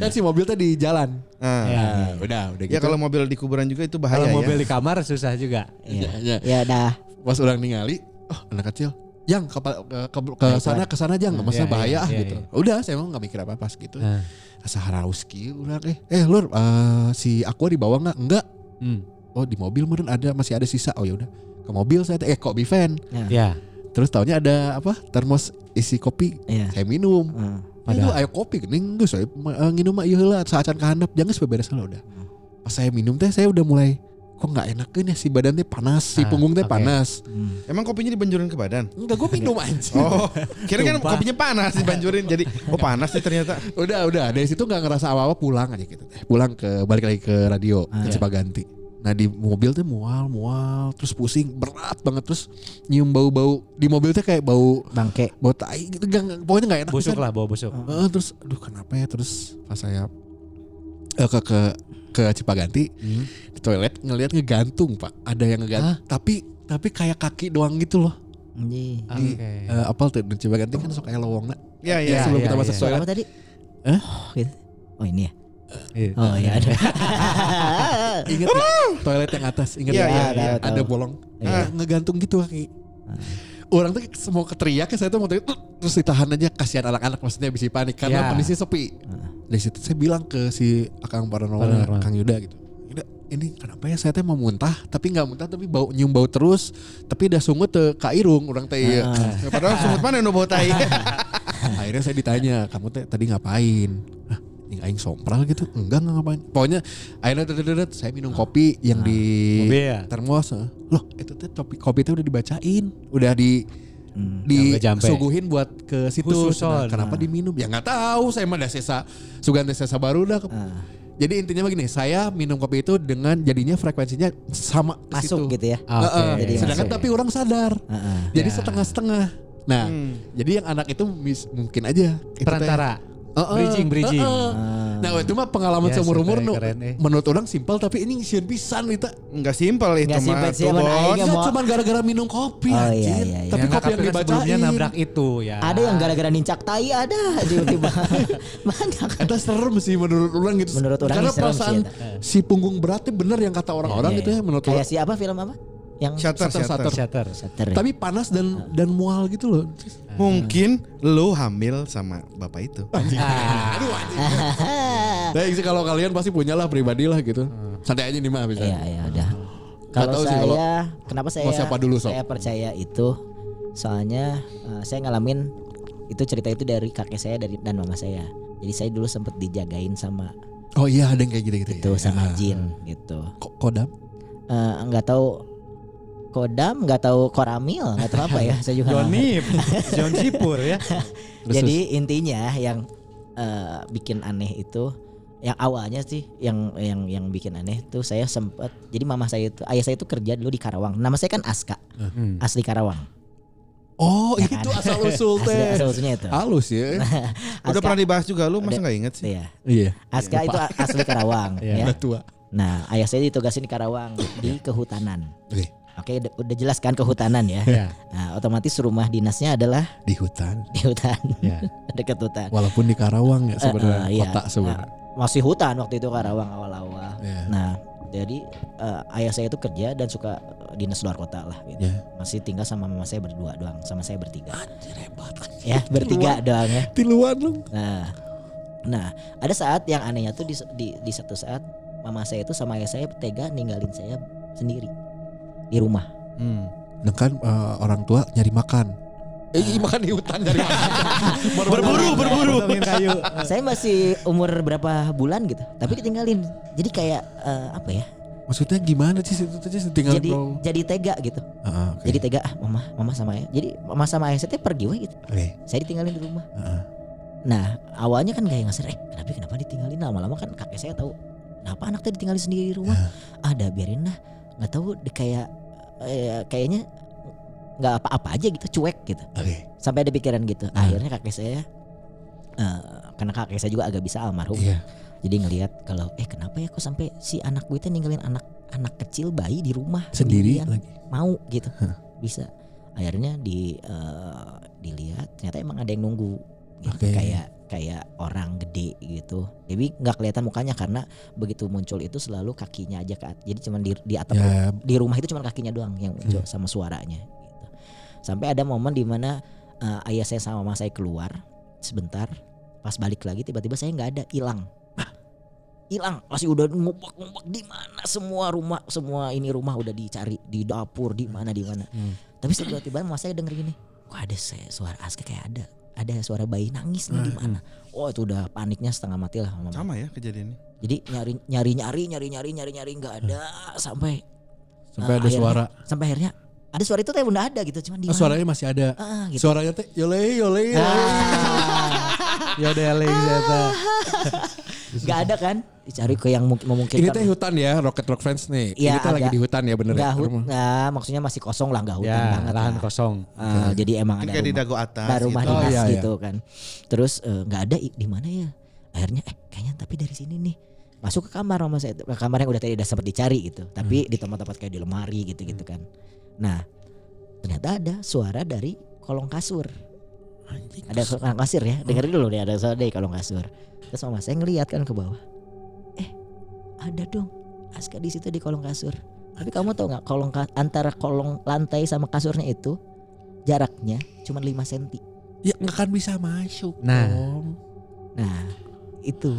kan si mobil tadi di jalan. Nah, Ya. Nah, udah udah gitu. Ya kalau mobil di kuburan juga itu bahaya Kalau ya. mobil di kamar susah juga. Iya. Ya, ya. Ya dah. pas orang ningali, oh anak kecil, yang ke ke, ke, ke sana ke sana jang, maksudnya Iya, iya, bahaya ah, iya, gitu. iya. Udah saya emang nggak mikir apa pas gitu. Nah. Asa haraus kieu urang eh eh lur eh, si Aqua di bawah nggak? Enggak. Hmm. Oh di mobil meren ada masih ada sisa. Oh ya udah ke mobil saya teh, eh kok bivan. Ya. Terus taunya ada apa termos isi kopi. Iya. Saya minum. Hmm. Padahal ayo kopi geuning geus saya eh, nginum mah ieu heula saacan kahandap jangan beberes heula udah. Hmm. Pas saya minum teh saya udah mulai kok nggak enakeun ya si badan teh panas, si Ah, punggung teh oke. panas. Hmm. Emang kopinya dibanjurin ke [laughs] badan? Enggak gue [laughs] minum anjing. Oh, kira kan Sumpah. kopinya panas dibanjurin jadi oh panas sih ternyata. Udah udah dari situ nggak ngerasa apa-apa pulang aja gitu teh. Pulang ke balik lagi ke radio Ah, ke iya. Cipaganti. Nah di mobil tuh mual mual terus pusing berat banget terus nyium bau-bau di mobil tuh kayak bau Bangke. bau tai gitu nggak- nggak- pokoknya nggak enak. Busuk pisan. lah bawa busuk. Heeh, terus aduh kenapa ya terus pas saya eh, ke ke ke Cipaganti Hmm. di toilet ngelihat ngegantung pak ada yang ngegantung tapi tapi kayak kaki doang gitu loh Anjing. di eh, apa tuh di Cipaganti kan sok aya lowongna Ya ya, ya. sebelum Oh. iya, kita masuk iya. toilet Apa tadi? Eh? Gitu. Oh, gitu. Oh ini ya. Iya. Oh iya [laughs] [laughs] ada. Ingat nggak? toilet yang atas, ingat Iya, nggak? iya, ada, iya, ada tahu. bolong. Iya. Ah, ngegantung gitu kaki. Orang tuh semua keteriak ya saya tuh mau teriak, "Uh," terus ditahan aja kasihan anak-anak maksudnya bisa panik karena Iya. kondisi sepi. Dari situ saya bilang ke si Akang Paranormal, Paranormal. Kang Yuda gitu. Yuda, ini kenapa ya saya teh mau muntah tapi nggak muntah tapi bau nyium bau terus tapi udah sungut ke kairung orang teh iya." ieu." Ya, Padahal sumut mana nu bau tai. akhirnya saya ditanya kamu teh tadi ngapain Hah, "Ih, aing sompral gitu enggak enggak ngapain pokoknya akhirnya dedet saya minum kopi yang di Mobil ya? termos loh itu teh kopi kopi teh udah dibacain udah di Hmm. jampe-jampe. disuguhin buat ke situ Khusus Nah, soal, kenapa diminum ya nggak tahu saya mah ada sesa sugan sesa baru dah jadi intinya begini saya minum kopi itu dengan jadinya frekuensinya sama ke Masuk situ. Ah. gitu ya. Oke. Heeh. Jadi sedangkan masuk. tapi orang sadar Heeh. jadi Ya. setengah-setengah nah Hmm. jadi yang anak itu mis- mungkin aja itu teh- Perantara. Heeh, Bridging, bridging. heeh. Nah, itu mah pengalaman Ya, seumur umur super, nu keren, eh. menurut orang simpel tapi ini ngisian pisan itu. Enggak simpel itu Nggak simpel mah. sih, tuh, emang Bos. aing Enggak mau- cuma gara-gara minum kopi Oh, anjir. iya, iya, iya. Tapi kopi yang sebelumnya dibacain. nabrak itu ya. Ada yang gara-gara nincak tai [laughs] ada tiba-tiba. [laughs] Banyak. Eta serem sih menurut orang gitu. Menurut orang Karena ini serem sih, perasaan eta. si punggung beratnya bener yang kata orang-orang Iya, gitu ya menurut orang. Kayak si apa film apa? Yang Shutter, Shutter, shutter. shutter. Shutter. Shutter ya? Tapi panas dan dan mual gitu loh. Mungkin lu hamil sama bapak itu. Aduh anjing. Nah, sih, kalau kalian pasti punya lah pribadi lah gitu. Santai aja nih mah bisa. [laughs] Iya iya udah. Nggak Kalau tahu sih saya kalau- kenapa saya mau siapa dulu, Sob? saya percaya itu soalnya eh, saya ngalamin itu cerita itu dari kakek saya dari dan mama saya. Jadi saya dulu sempet dijagain sama Oh iya ada yang kayak gitu-gitu. itu ya. Ah. sama jin gitu. Ko- Kodam. Eh, nggak tahu kodam, nggak tahu koramil, nggak tahu apa ya. Saya juga. nggak Johnny, John Cipur [laughs] ya. Terus, Jadi intinya yang eh, bikin aneh itu yang awalnya sih yang yang yang bikin aneh tuh saya sempat jadi mama saya itu ayah saya itu kerja dulu di Karawang. Nama saya kan Aska, Hmm. asli Karawang. Oh Ya itu kan? asal usul Asli teh. asal usulnya itu. Halus [laughs] ya. Udah Aska, pernah dibahas juga lu Udah. masa nggak inget sih? iya. Iya. Aska itu a- asli Karawang Iya. ya. Udah tua. Nah, ayah saya ditugasin di Karawang di kehutanan. Oke. Oke, udah- udah jelaskan kehutanan ya. Iya. Nah, otomatis rumah dinasnya adalah Di hutan. di hutan, Iya. [laughs] dekat hutan. Walaupun di Karawang ya sebenarnya Eh, eh, iya. kota sebenarnya. Nah, masih hutan waktu itu Karawang awal-awal. Iya. Nah, jadi eh, ayah saya itu kerja dan suka eh, dinas luar kota lah gitu. Iya. Masih tinggal sama mama saya berdua doang, sama saya bertiga. Anjir hebat. Ya, gitu. bertiga doang ya. Tiluan lu. Nah, nah ada saat yang anehnya tuh di, di, di satu saat mama saya itu sama ayah saya tega ninggalin saya sendiri di rumah. Hmm. Nah kan eh, orang tua nyari makan. Eh, iya, makan di hutan nyari makan. [laughs] Berburu, berburu. Potongin kayu. Ah. saya masih umur berapa bulan gitu, tapi ditinggalin. Jadi kayak eh, apa ya? Maksudnya gimana sih situ aja tinggal Jadi dong. jadi tega gitu. Ah, oke. Jadi tega ah mama, mama sama ayah. Jadi mama sama ayah saya teh pergi weh gitu. Oke. Saya ditinggalin di rumah. Heeh. Nah, awalnya kan kayak ngasih, eh kenapa kenapa ditinggalin lama-lama kan kakek saya tahu. Kenapa anak teh ditinggalin sendiri di rumah? Ada biarin lah. Nggak tahu di kayak eh, kayaknya nggak apa-apa aja gitu, cuek gitu. Oke. Sampai ada pikiran gitu. Akhirnya kakek saya eh, karena kakek saya juga agak bisa almarhum. Iya. Jadi ngelihat kalau eh kenapa ya kok sampai si anak gue teh ninggalin anak anak kecil bayi di rumah Sendiri sendirian?" lagi. mau gitu bisa akhirnya di eh, dilihat ternyata emang ada yang nunggu gitu. Oke. kayak kayak orang gede gitu jadi nggak kelihatan mukanya karena begitu muncul itu selalu kakinya aja ke at- jadi cuman di, di atap Ya, di rumah itu cuma kakinya doang yang muncul sama suaranya gitu. sampai ada momen dimana eh, ayah saya sama mama saya keluar sebentar pas balik lagi tiba-tiba saya nggak ada hilang hilang masih udah ngubek ngubek di mana semua rumah semua ini rumah udah dicari di dapur di mana di mana Hmm. tapi setelah tiba mama saya denger gini kok ada se- suara aska kayak ada ada suara bayi nangis nih di mana oh itu udah paniknya setengah mati lah mama Sama ya kejadiannya. jadi nyari nyari nyari nyari nyari nyari nyari nggak ada sampai Hmm. sampai Nah, ada akhirnya- suara. sampai akhirnya ada suara itu tapi udah ada gitu cuman di Oh, mana? suaranya masih ada. Ah, gitu. Ah, Suaranya teh yole yole. yole. Ya udah Alex Zeta. [laughs] nggak ada kan dicari ke yang mungkin Ini memungkinkan teh hutan ya, Rocket Rock Friends nih. Iya, Ini teh lagi agak- di hutan ya bener nggak ya. hut- rumah. nah, maksudnya masih kosong lah nggak hutan Ya, banget lahan lah. kosong. Ah, jadi emang Mungkin ada kayak di rumah, dago atas baru rumah gitu. Oh, dinas iya, iya. gitu kan terus eh, nggak ada i- di mana ya akhirnya eh kayaknya tapi dari sini nih masuk ke kamar mama saya ke kamar yang udah tadi udah sempat dicari gitu tapi di tempat-tempat kayak di lemari gitu gitu kan nah ternyata ada suara dari kolong kasur Anjing. ada kolong kasur ya dengerin dulu nih ada suara dari kolong kasur terus mama saya ngeliat kan ke bawah eh ada dong Aska di situ di kolong kasur tapi kamu tahu nggak kolong ka- antara kolong lantai sama kasurnya itu jaraknya cuma 5 cm Ya nggak kan bisa masuk. Nah. Om. nah itu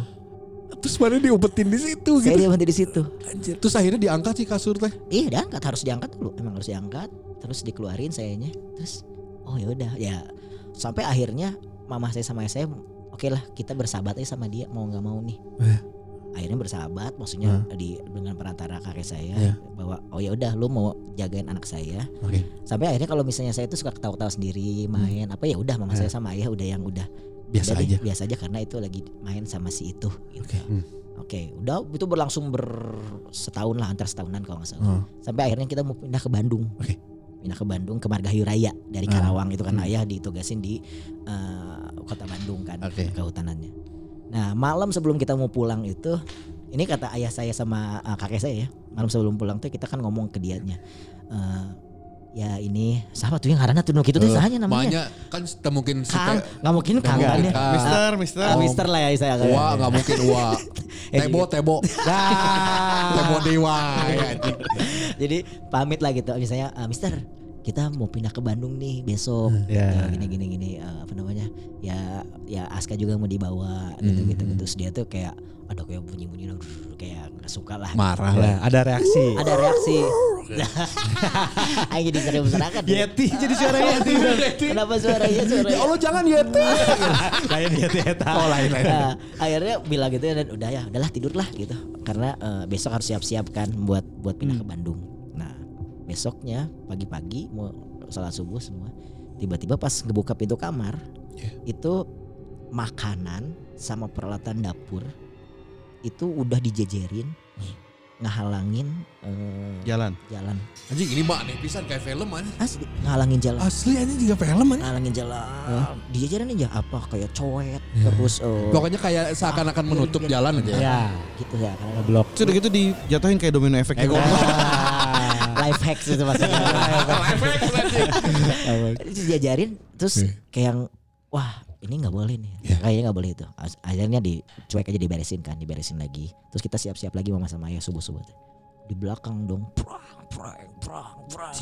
Terus mana diumpetin di situ saya gitu. dia berhenti di situ Anjir. Terus akhirnya diangkat sih kasur teh. iya diangkat harus diangkat dulu emang harus diangkat terus dikeluarin sayanya terus oh ya udah ya sampai akhirnya mama saya sama ayah saya oke lah kita bersahabat aja sama dia mau nggak mau nih Eh. akhirnya bersahabat maksudnya di dengan perantara kakek saya Iya. bahwa oh ya udah lu mau jagain anak saya Oke. sampai akhirnya kalau misalnya saya itu suka ketawa-ketawa sendiri main apa ya udah mama Eh. saya sama ayah udah yang udah Biasa udah deh, aja. biasa aja karena itu lagi main sama si itu gitu. Oke. Hmm. Oke, udah itu berlangsung ber setahun lah antar setahunan kalau nggak salah. Oh. Sampai akhirnya kita mau pindah ke Bandung. Oke. Pindah ke Bandung ke Margahayu Raya dari Ah. Karawang itu kan Hmm. ayah ditugasin di eh, kota Bandung kan Oke. kehutanannya. Nah, malam sebelum kita mau pulang itu ini kata ayah saya sama eh, kakek saya ya. Malam sebelum pulang tuh kita kan ngomong ke dianya. Eh, ya ini siapa tuh yang karena tuh kita tuh Eh, sahanya namanya. Makanya kan se- mungkin Kang, sete- nggak mungkin Kang Nggak kan ya. mungkin Kang. Mister, Mister. Ah, Mister lah ya saya kali. Wah, nggak mungkin wah. [laughs] Eh, Tebo, tebo, tebo Nah, dewa. ya, anjing. jadi pamit lah gitu misalnya "Ah, Mister kita mau pindah ke Bandung nih besok Hmm. Ya. Ya, gini gini gini eh, apa namanya ya ya Aska juga mau dibawa gitu Hmm. gitu gitu Terus dia tuh kayak ada kayak bunyi bunyi [laughs] kayak nggak suka lah Marah lah. Nah, ada reaksi. ada [laughs] reaksi [laughs] Ayo jadi sering berserakan Yeti jadi suara [laughs] Yeti. kenapa suaranya suara Iya. Ya Allah jangan ya tuh. Lain Yeti eta. [laughs] Oh lain lain. Nah, akhirnya bilang gitu ya, dan udah ya udahlah tidurlah gitu karena eh, besok harus siap-siap kan buat buat pindah Hmm. ke Bandung nah besoknya pagi-pagi mau sholat subuh semua tiba-tiba pas ngebuka pintu kamar Iya. itu makanan sama peralatan dapur itu udah dijejerin Hmm. ngehalangin eh, Ya. Jalan. jalan Anjing ini mah aneh pisan kayak film anjing. asli ngehalangin jalan Asli anjing juga film anjing. ngehalangin jalan dijejerin aja apa kayak coet Iya. terus eh, Pokoknya kayak seakan-akan menutup Iya. jalan aja. Ya, gitu ya karena blok. Sudah gitu dijatuhin kayak domino efek Eh, gitu. gua- [laughs] life hacks itu maksudnya terus diajarin terus Iya. kayak yang wah ini nggak boleh nih Iya. kayaknya nggak boleh itu As- akhirnya dicuek aja diberesin kan diberesin lagi terus kita siap-siap lagi mama sama ayah subuh subuh di belakang dong prang prang prang prang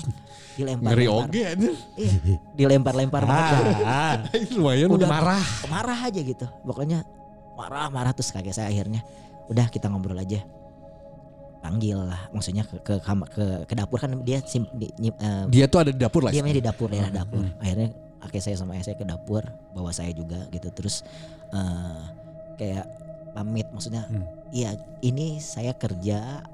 dilempar [laughs] Ngeri lempar. oge anjing. Iya, dilempar lempar Ah, Lumayan. Udah. marah. marah aja gitu pokoknya marah marah terus kakek saya akhirnya udah kita ngobrol aja panggil lah maksudnya ke ke kam- ke, ke dapur kan dia sim, di, nyim- eh, Dia tuh ada di dapur lah. ya. Hmm, Dia mainnya di dapur daerah dapur. Akhirnya kakek saya sama ayah saya ke dapur, bawa saya juga gitu. Terus eh, kayak pamit maksudnya, Hmm. iya ini saya kerja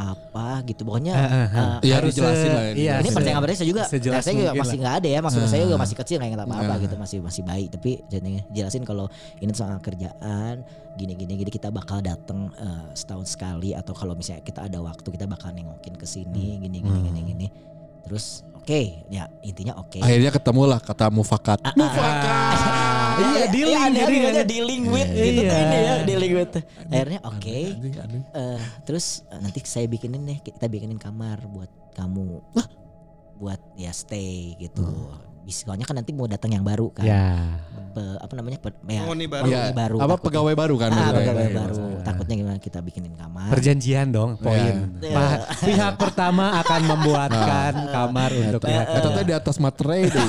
apa gitu. Ah, Pokoknya ah, ah. Iya, Harus, dijelasin eh, lah, Iya, ini dijelasin. percaya kabarnya saya juga, Nah, sejelas saya juga mungkin masih nggak ada ya. Maksudnya saya juga Ah. masih kecil nggak ingat apa-apa Ah. gitu, masih masih baik. Tapi jadinya jelasin kalau ini soal kerjaan, gini-gini, gini kita bakal datang eh, setahun sekali atau kalau misalnya kita ada waktu kita bakal nengokin ke sini, gini-gini, Hmm. gini-gini. Terus oke, ya intinya oke. Akhirnya ketemu lah kata mufakat. Ah, iya, Iya, dealing iya, ada jadi namanya kan. dealing Iya. with Nah, gitu tuh ini ya Iya. dealing with. Akhirnya oke. Anjing, anjing. eh, terus eh, nanti saya bikinin deh kita bikinin kamar buat kamu. Buat ya stay gitu. Misalnya kan nanti mau datang yang baru kan. Ya. Pe- apa namanya? Pe, ya, Penghuni baru. penghuni Iya. baru. Apa takutnya. pegawai baru kan? Ah, maksudnya. pegawai Iya. baru. Takutnya gimana kita bikinin kamar. Perjanjian dong, poin. Iya. Pak, Pihak pertama akan membuatkan kamar untuk Eh, pihak Atau tadi kedua. ya. di atas materai deh.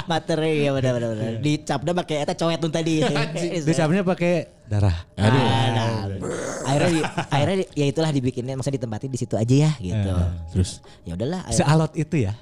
[laughs] Materi ya benar-benar. Dicapnya pakai eta cowet tuh tadi. Iya. Dicapnya pakai darah. Aduh. Ah, nah. akhirnya di- akhirnya di- ya itulah dibikinnya maksudnya ditempatin di situ aja ya gitu Iya. Terus. ya udahlah akhirnya, Sealot itu ya.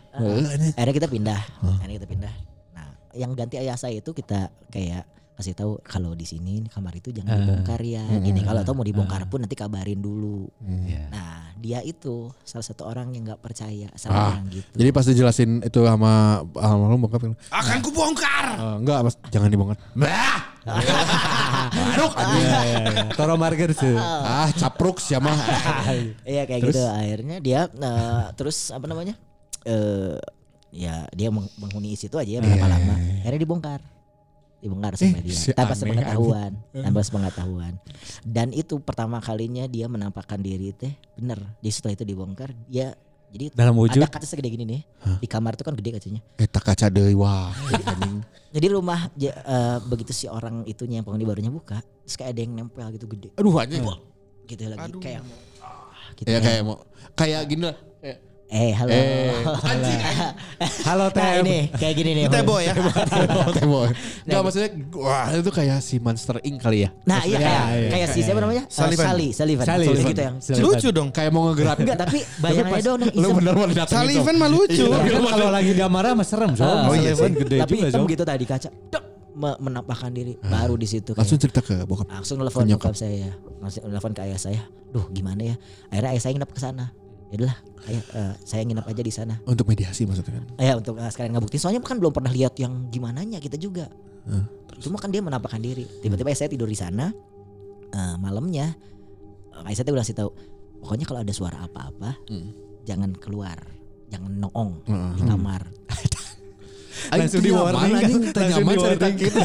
akhirnya kita pindah akhirnya kita pindah nah yang ganti ayah saya itu kita kayak kasih tahu kalau di sini kamar itu jangan dibongkar ya gini kalau tahu mau dibongkar pun nanti kabarin dulu Iya. nah dia itu salah satu orang yang nggak percaya Ah, sama orang gitu Jadi pas dijelasin itu sama almarhum bokap bilang, Akan kubongkar. "Eh, enggak mas, jangan dibongkar. Bah! [laughs] Baruk anjing. Iya, iya, iya. Toro Marger tuh. Ah, capruk siapa? Iya kayak gitu akhirnya dia eh, terus apa namanya eh ya dia meng- menghuni situ aja ya berapa lama akhirnya dibongkar dibongkar sama Eh, dia si tanpa aneh, [laughs] Eh. sepengetahuan tanpa sepengetahuan dan itu pertama kalinya dia menampakkan diri teh bener di setelah itu dibongkar dia jadi Nah, Dalam wujud. ada kaca segede gini nih di kamar tuh kan gede kacanya Eta kaca deui wah. anjing. jadi rumah ja- eh, begitu si orang itunya yang penghuni barunya buka terus kayak ada yang nempel gitu gede Aduh anjing. gitu lagi Aduh. kayak ah, gitu Ya ya. kayak mau kayak gini [laughs] lah. Eh, eh halo Eh, anjing. Halo Nah Tem. ini kayak gini nih. Tebo ya. Tembok. Nah, gitu. Enggak maksudnya wah itu kayak si Monster Inc kali ya. Nah iya kayak iya, kayak si iya, iya. siapa namanya? Eh, Sullivan. Sali, Sullivan. Sali, Sullivan Sali. gitu yang. Sali. Lucu dong. Kayak mau [laughs] ngegerakin. Enggak tapi bayangannya pas dong udah Lu iseng. bener bener datang Iya, Sullivan mah lucu. Tapi kan kalau lagi dia marah mah serem sob. Ah, Sullivan Tapi hitam sob. gitu tadi kaca. Dok. me- menampakkan diri baru di situ kayak- Langsung cerita ke bokap. langsung nelfon Ke Ah. nyokap. nyokap saya langsung nelfon ke ayah saya duh gimana ya akhirnya ayah saya nginep ke sana ya udahlah ayah eh, saya nginep aja di sana Untuk mediasi maksudnya kan. ya untuk eh, sekalian ngebuktiin soalnya kan belum pernah lihat yang gimananya kita juga Hah, cuma kan dia menampakkan diri tiba-tiba ayah saya tidur di sana eh, malamnya eh, ayah saya tuh udah kasih tahu pokoknya kalau ada suara apa-apa Hmm. jangan keluar jangan noong Heeh. di kamar Aing Langsung teu di nyaman, warning kan? anjing, teu Langsung nyaman di cerita warning. gitu.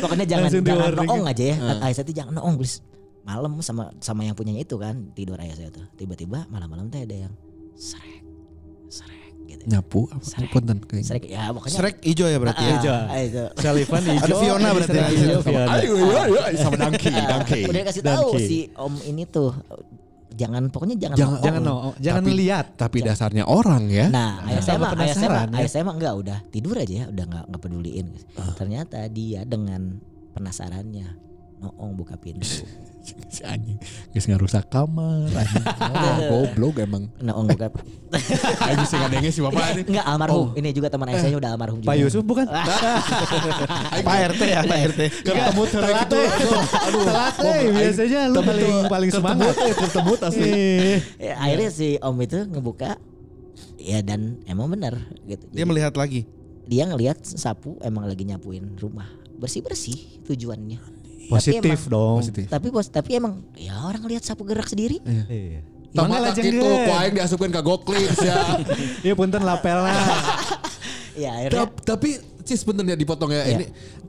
pokoknya jangan Langsung jangan di-warning. noong aja ya ayah saya tuh jangan noong please malam sama sama yang punyanya itu kan tidur ayah saya tuh tiba-tiba malam-malam tuh ada yang srek srek gitu [laughs] Nyapu apa? Srek. Punten kayaknya. srek ya pokoknya Shrek hijau ya berarti ya. Ah, Hijau. ah, itu. Salivan hijau. Ada Fiona berarti Salivan lagi. hijau, Fiona. Ayo, ayo, ayo, iya, [laughs] sama Dangki, Iya, Dangki. Nah, udah kasih tahu Donkey. si om ini tuh jangan pokoknya jangan Jangan- Jangan noong. no, jangan Tapi- melihat. Tapi dasarnya orang [laughs] ya. Nah, ayah Sama saya mah, ayah saya mah, penasaran, ya. Ah. ayah saya mah enggak udah tidur aja ya, udah enggak enggak peduliin. Ternyata dia dengan penasarannya noong buka pintu. si anjing geus ngarusak kamar anjing Ah, goblok emang noong [laughs] buka Eh, anjing sing adenge si bapak ini enggak almarhum. Ini juga teman ayah saya udah almarhum juga. Oh. Eh, Pak Yusuf bukan? Iya. Pak RT ya, Pak RT. Ketemu telat tuh. Telat tuh. Biasanya lu paling paling semangat. Ketemu asli. Ya, akhirnya si Om itu ngebuka ya dan emang bener gitu. Jadi, Dia melihat lagi. dia ngelihat sapu emang lagi nyapuin rumah bersih-bersih tujuannya. Iya, Positif Tapi emang- dong. positif Tapi bos, tapi emang ya orang lihat sapu gerak sendiri. Iya. Tama Gimana tak jeung gitu dia? ku aing diasupkeun ka goklip ya Iya punten lapel [laughs] lah. Ya akhirnya Tap- tapi cis bentar ya dipotong ya Iya. ini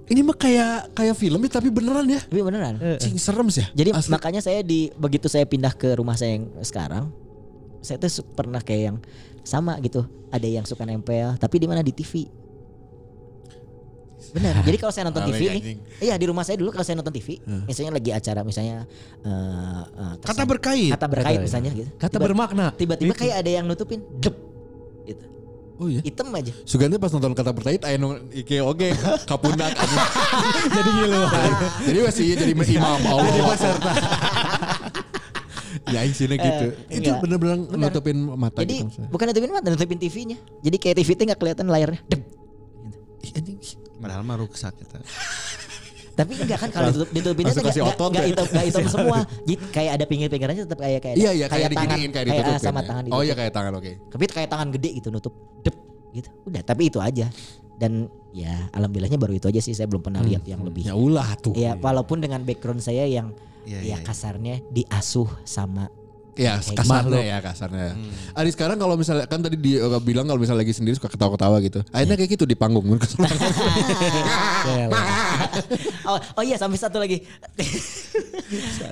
ini mah kayak kayak film ya tapi beneran ya tapi beneran. Eh, cing serem sih ya Jadi Asli. makanya saya di begitu saya pindah ke rumah saya yang sekarang, saya tuh su- pernah kayak yang sama gitu. Ada yang suka nempel, tapi di mana di TV. Benar. Jadi kalau saya nonton Alay, TV nih, anjing. iya di rumah saya dulu kalau saya nonton TV, misalnya lagi acara misalnya eh, eh, Kata Iya. tersang- berkait. kata berkait misalnya gitu. Kata Tiba- bermakna. Tiba-tiba Itu. kayak ada yang nutupin, dep, gitu. oh iya Hitam aja. Sugante pas nonton kata berkait ayo nong ike oge [laughs] kapundak anjing. jadi ngilu. jadi masih iya jadi [laughs] imam Allah Jadi peserta. ya aing sini gitu Eh, itu enggak. bener-bener Bener. nutupin mata Jadi gitu maksudnya. bukan nutupin mata, nutupin TV-nya. Jadi kayak TV itu nggak kelihatan layarnya, dep. Ih, anjing Iya, Padahal mah rusak Iya, kita. Tapi enggak kan kalau ditutup ditutupinnya tuh Langsung enggak kasih otot enggak ya. hitam enggak [laughs] hitam semua. Jadi kayak ada pinggir-pinggirannya tetap kayak kayak Iya iya kayak kayak, tangan diginiin kayak kayak, ditutupin. ah, sama ya. tangan Oh ditutup. iya kayak tangan oke. Tapi kayak tangan gede gitu nutup. Dep gitu. Udah, tapi itu aja. Dan ya alhamdulillahnya baru itu aja sih saya belum pernah lihat Iya, yang lebih. Ya ulah tuh. Ya walaupun dengan background saya yang ya Iya, iya. kasarnya diasuh sama Ya kasarnya ya kasarnya. Hmm. Ari sekarang kalau misalnya kan tadi di, eh, bilang kalau misalnya lagi sendiri suka ketawa-ketawa gitu. Iya. Akhirnya kayak gitu di panggung. [laughs] Ya lah. oh, oh iya sampai satu lagi.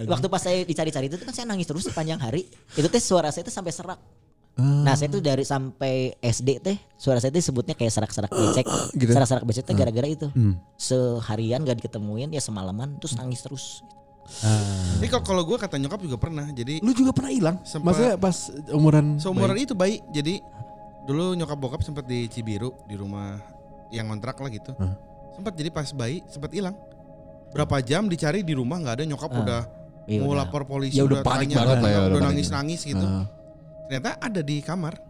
Waktu pas saya dicari-cari itu tuh kan saya nangis terus sepanjang hari. Itu teh suara saya tuh sampai serak. Nah saya tuh dari sampai SD teh suara saya tuh sebutnya kayak serak-serak becek. Gitu. Serak-serak becek teh gara-gara itu. Seharian gak diketemuin ya semalaman terus nangis terus. Ah. Tapi kok kalau gue kata nyokap juga pernah. Jadi Lu juga pernah hilang? Sempat. Maksudnya pas umuran seumuran bayi. itu baik. Jadi dulu nyokap bokap sempat di Cibiru di rumah yang kontrak lah gitu. Hah? Sempat jadi pas bayi sempat hilang. Berapa jam dicari di rumah nggak ada nyokap Ah, udah Iya, mau udah. lapor polisi Ya udah panik banget lah ya, udah, udah panik. Ah. nangis nangis gitu. Heeh. Ternyata ada di kamar.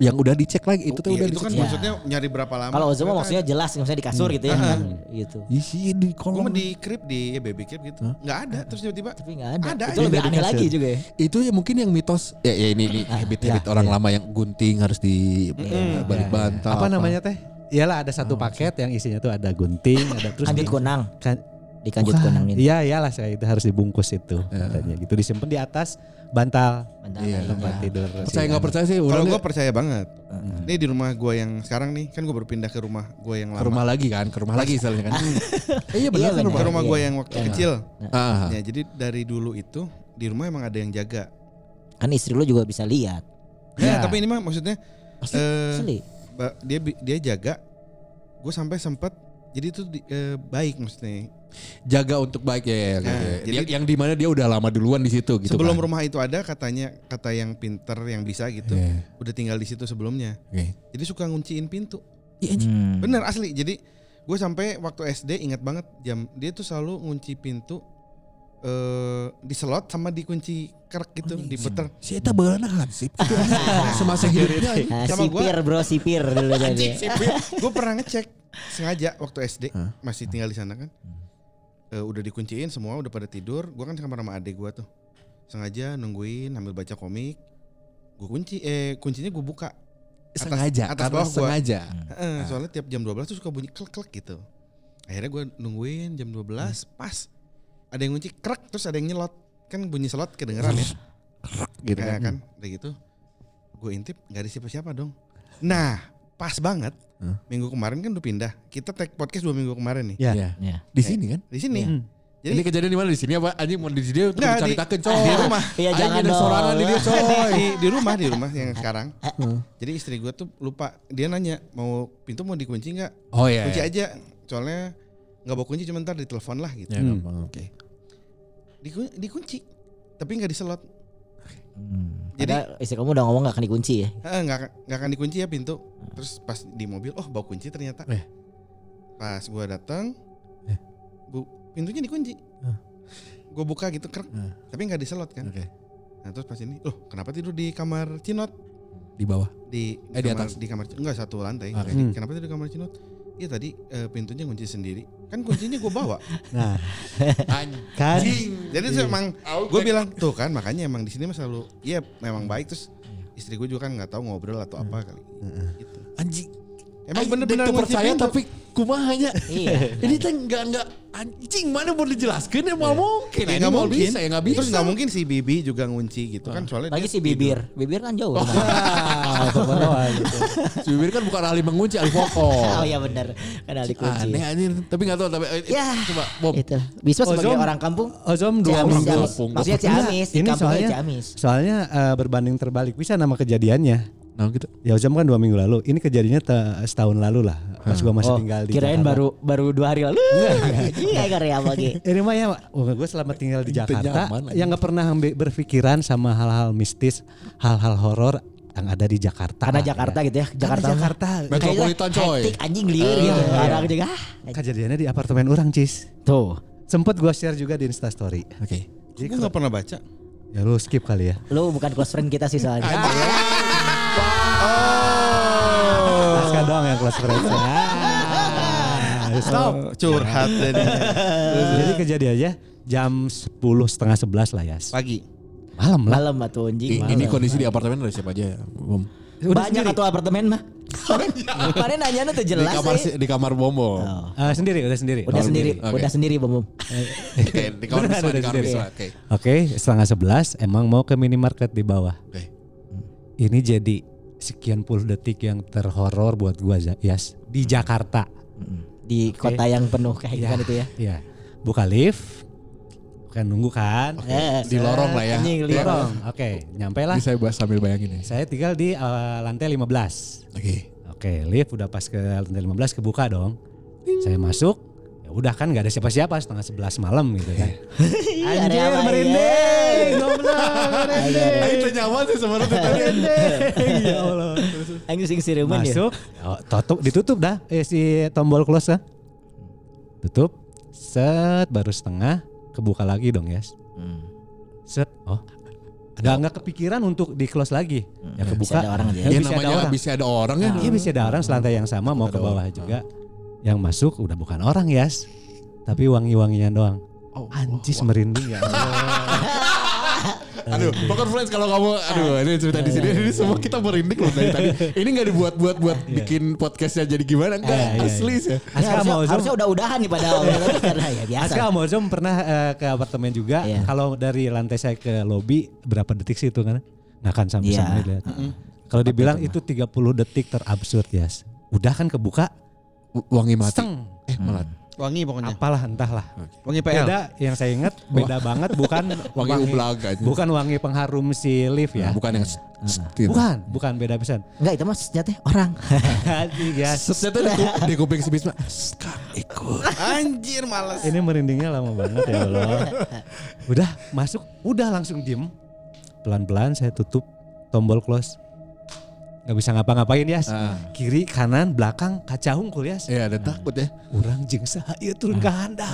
yang udah dicek lagi itu tuh Iya, udah itu kan dicek. Ya. maksudnya nyari berapa lama. Kalau Ozma maksudnya jelas maksudnya di kasur gitu ya Ah. kan gitu. Isi di gue kolom. di crib di ya, baby crib gitu. nggak ada terus tiba-tiba Tapi gak ada. Ada itu aja lebih dari aneh kasur. lagi juga ya. Itu ya mungkin yang mitos ya, ya ini ini habit-habit orang lama yang gunting harus di eh, balik bantal. Apa namanya teh? Iyalah ada Ah, satu paket yang isinya tuh ada gunting, ada terus Kanjut di- kunang. kan- Di kanjut Bukan. kunang ini. Iya iyalah saya itu harus dibungkus itu Ah. katanya gitu disimpan di atas bantal Mantap. Iya. tempat tidur. Percaya si nggak anak. percaya sih Kalau orang gue percaya banget. Ini di rumah gue yang sekarang nih, kan gue baru pindah ke rumah gue yang ke lama. rumah lagi kan, ke rumah [laughs] lagi misalnya kan. Iya benar. kan Ke rumah gue iya. yang waktu kecil. Ah. Ya, jadi dari dulu itu di rumah emang ada yang jaga. Kan istri lu juga bisa lihat. Ya, Iya. Ya. tapi ini mah maksudnya eh, Asli. ba- dia bi- dia jaga. Gue sampai sempet jadi itu di- eh, baik maksudnya. jaga untuk baik ya, ya, ya, gitu ya. Nah, jadi- yang, yang dimana dia udah lama duluan di situ gitu Sebelum kan. rumah itu ada katanya kata yang pinter yang bisa gitu, Iya. udah tinggal di situ sebelumnya. Oke. Jadi suka ngunciin pintu. Iya, Hmm. Bener asli. Jadi gue sampai waktu SD ingat banget jam dia tuh selalu ngunci pintu eh diselot sama dikunci kerek gitu, diputer. Si Eta beulana hansip. [laughs] Semasa hidupnya. Ah, Sama sipir bro sipir dulu tadi. gue Iya. pernah ngecek sengaja waktu SD Hah? masih tinggal di sana kan. Hmm. Eh, udah dikunciin semua, udah pada tidur. Gua kan kamar sama adik gua tuh. Sengaja nungguin ambil baca komik. Gue kunci eh kuncinya gue buka. Atas- sengaja atas karena bawah gua. sengaja. Nah. Heeh, soalnya tiap jam 12 tuh suka bunyi klek-klek gitu. Akhirnya gue nungguin jam 12 Hmm. pas ada yang ngunci krek terus ada yang nyelot. Kan bunyi selot kedengeran ya. Gitu kan. Kayak kan udah gitu. Gue intip nggak ada siapa-siapa dong. Nah, pas banget. Hah? Minggu kemarin kan udah pindah. Kita tag podcast dua minggu kemarin nih. Ya. Iya. Ya. Di sini kan? Di sini. Hmm. Jadi- ini kejadian di mana di sini apa? Anjing mau di sini kan? untuk Nggak, di- Oh. diceritakan Di coy. rumah. Iya Anjing jangan ada dong. sorangan di dia coy. [laughs] di, di rumah di rumah yang sekarang. Heeh. Jadi istri gue tuh lupa dia nanya mau pintu mau dikunci nggak? Oh iya. Kunci iya. aja. Soalnya nggak bawa kunci cuma ntar ditelepon lah gitu. Ya, Hmm. gampang, Oke. Diku- dikunci tapi nggak diselot. Hmm. Jadi- Padahal istri kamu udah ngomong gak akan dikunci ya. Heeh, nggak akan- nggak akan dikunci ya pintu. Terus pas di mobil, oh bawa kunci ternyata. Eh. Pas gue datang, Eh. bu pintunya dikunci. Ah. Gue buka gitu krek, Ah. tapi nggak diselot kan. Oke. Nah terus pas ini, loh kenapa tidur di kamar Cinot? Di [laughs] bawah. di Eh, di kamar, atas. Ah. di kamar enggak satu lantai. Oke. Hmm. Kenapa tadi di kamar Cinot? Iya tadi eh, pintunya kunci sendiri. Kan kuncinya gue bawa. Nah, [laughs] Anjing. Iya. kan Jadi tuh emang gue bilang tuh kan makanya emang di sini mah selalu iya memang baik terus istri gue juga kan nggak tahu ngobrol atau apa kali. Gitu. Anjing. Emang Aing dek bener-bener teu kunci percaya pintu. tapi kumahanya. Iya. [laughs] Ini teh enggak enggak anjing mana mau dijelaskan ya mau mungkin. Ya, Ini nggak mau mungkin. bisa ya nggak bisa. Terus nggak mungkin si Bibi juga ngunci gitu kan soalnya Lagi dia si tidur. bibir. Bibir kan jauh. rumah. Ah, teman doang gitu. [laughs] Si Bibir kan bukan ahli mengunci, ahli pokok. [laughs] Oh iya benar. Kan ada dikunci. Aneh anjir, tapi enggak tahu tapi eh, Ya. coba Bob. Itu. Bisma sebagai Ozon. orang kampung Ozom dua Nah, Ciamis, orang Ciamis. kampung. Maksudnya Ciamis, di Ini kampungnya soalnya Ciamis. soalnya eh, berbanding terbalik bisa nama kejadiannya. Nah, gitu. Ya Ozom kan dua minggu lalu. Ini kejadiannya te- setahun lalu lah. Pas gua masih Oh, tinggal di kirain Jakarta. baru baru dua hari lalu. [laughs] Iya karya lagi. Ini mah ya, gue selama tinggal di Itu Jakarta nyaman aja. yang nggak pernah ambil- berpikiran sama hal-hal mistis, hal-hal horor yang ada di Jakarta. Karena Ah, Jakarta ya. gitu ya, Karena Jakarta. mah. Jakarta. Met- Metropolitan, Kayaknya coy. hektik, anjing liar Iya, gitu. iya. Orang juga ah. Kejadiannya di apartemen orang, Cis. Tuh. Sempet gue share juga di Insta Story. Oke. Jadi gue nggak pernah baca. Ya lu skip kali ya. Lu bukan close friend kita sih soalnya. Oh. Aska doang yang close [laughs] friends. Ah, Stop. Oh, curhat tadi Jadi kejadiannya jam sepuluh setengah sebelas lah ya. pagi. Malam lah. Malam atau I- anjing. malam. Ini kondisi di apartemen ada siapa aja ya, Bom? Udah Banyak sendiri. atau apartemen mah. Kemarin nanya tuh Di jelas. kamar eh. si- di kamar Bomo. Oh. Eh, sendiri, udah sendiri. Udah Kalau sendiri, begini, oke. Mm. udah sendiri Bom. Bom. [laughs] Oke, di kamar Beneran Bisma, ada di kamar sendiri. Bisma. Oke. Oke, setengah sebelas emang mau ke minimarket di bawah. Oke. Ini jadi sekian puluh detik yang terhoror buat gua Za- Yas di Hmm. Jakarta. Di kota yang penuh kehidupan itu ya. Iya. Buka lift. Kan nunggu kan. Eh, Di lorong lah ya. Anjing Di liar. Dorong. Oke, nyampe lah. Ini saya bahas sambil bayangin ya. Saya tinggal di eh, lantai 15. Oke. Oke, lift udah pas ke lantai 15 kebuka dong. Saya masuk. Ya udah kan nggak ada siapa-siapa setengah 11 malam gitu kan. Iya. Ada Anjir, apa ya? merinding. Goblok, merinding. Eh, itu nyaman sih sebenarnya tuh tadi. Ya Allah. Anjing sing sireman ya. Masuk, oh, tutup, ditutup dah eh, si tombol close kan. Tutup, set baru setengah, kebuka lagi dong ya. Hmm. Set, oh. Ada nggak kepikiran untuk di close lagi? Ya kebuka. Hmm. Bisa ada orang aja. Ya, Hmm. Ya bisa ada namanya orang. bisa ada orang ya. Iya bisa ada orang selantai yang sama mau Ada ke bawah orang. juga. Yang masuk udah bukan orang Yas. Tapi wangi-wangian doang. Oh, Anjis merinding ya Allah. Aduh, Poker Friends kalau kamu aduh Ah. ini cerita di Iya, sini ini semua kita merinding loh dari tadi. Ini nggak dibuat-buat buat bikin podcastnya jadi gimana enggak Iya, iya, asli sih. Ya, Aska harusnya, mau Zoom. harusnya udah-udahan nih pada awal tapi karena ya biasa. Aska mau Zoom Ah, pernah eh, ke apartemen juga. Iya. Kalau dari lantai saya ke lobi berapa detik sih itu kan? Nah kan sampai Iya. sama lihat. Kalau dibilang itu 30 detik terabsurd Yas. Udah kan kebuka. Wangi mati. Steng. Eh, malah. Hmm. Wangi pokoknya. Apalah entahlah. Wangi PL. Beda yang saya ingat beda banget bukan Wangi ublag aja. Bukan wangi pengharum si lift ya. Bukan yang s- s- gitu. Bukan, bukan beda pisan. Enggak itu mah sejatnya orang. Anjing, guys. Ternyata di, ku- di kuping si Bisma. Skak ikut. Anjir males. Ini merindingnya lama banget ya Allah. [laughs] Udah masuk, udah langsung diem. Pelan-pelan saya tutup tombol close. Gak bisa ngapa-ngapain ya. Ah. Kiri, kanan, belakang, kaca hungkul ya. Iya, ada takut ya. Orang jeng sahaya iya turun ke handap.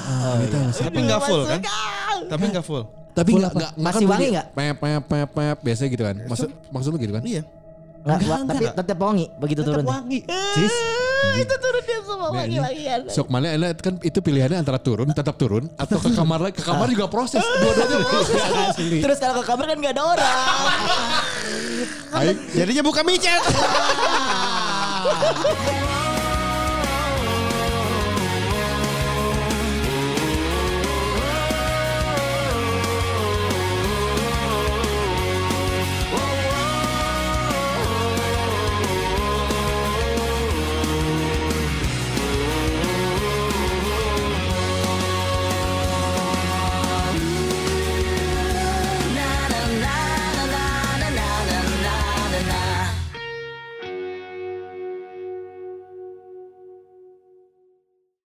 Tapi nggak full kan? Tapi nggak full. Tapi Full nggak apa? nggak nggak kan Masih wangi bunyi nggak? Pep pep pep pep biasa gitu kan. Maksud maksud lu gitu kan? Iya. [laughs] Enggak, tapi tetap wangi begitu Tetep turun. iya. wangi. Cis. Ah, itu turun dia semua Nah, ini- lagi-lagian. Sok mana enak kan itu pilihannya antara turun tetap turun atau ke kamar lagi ke kamar juga proses dua-duanya proses. Terus kalau ke kamar kan gak ada orang. Aing Jadinya buka micet. Ah.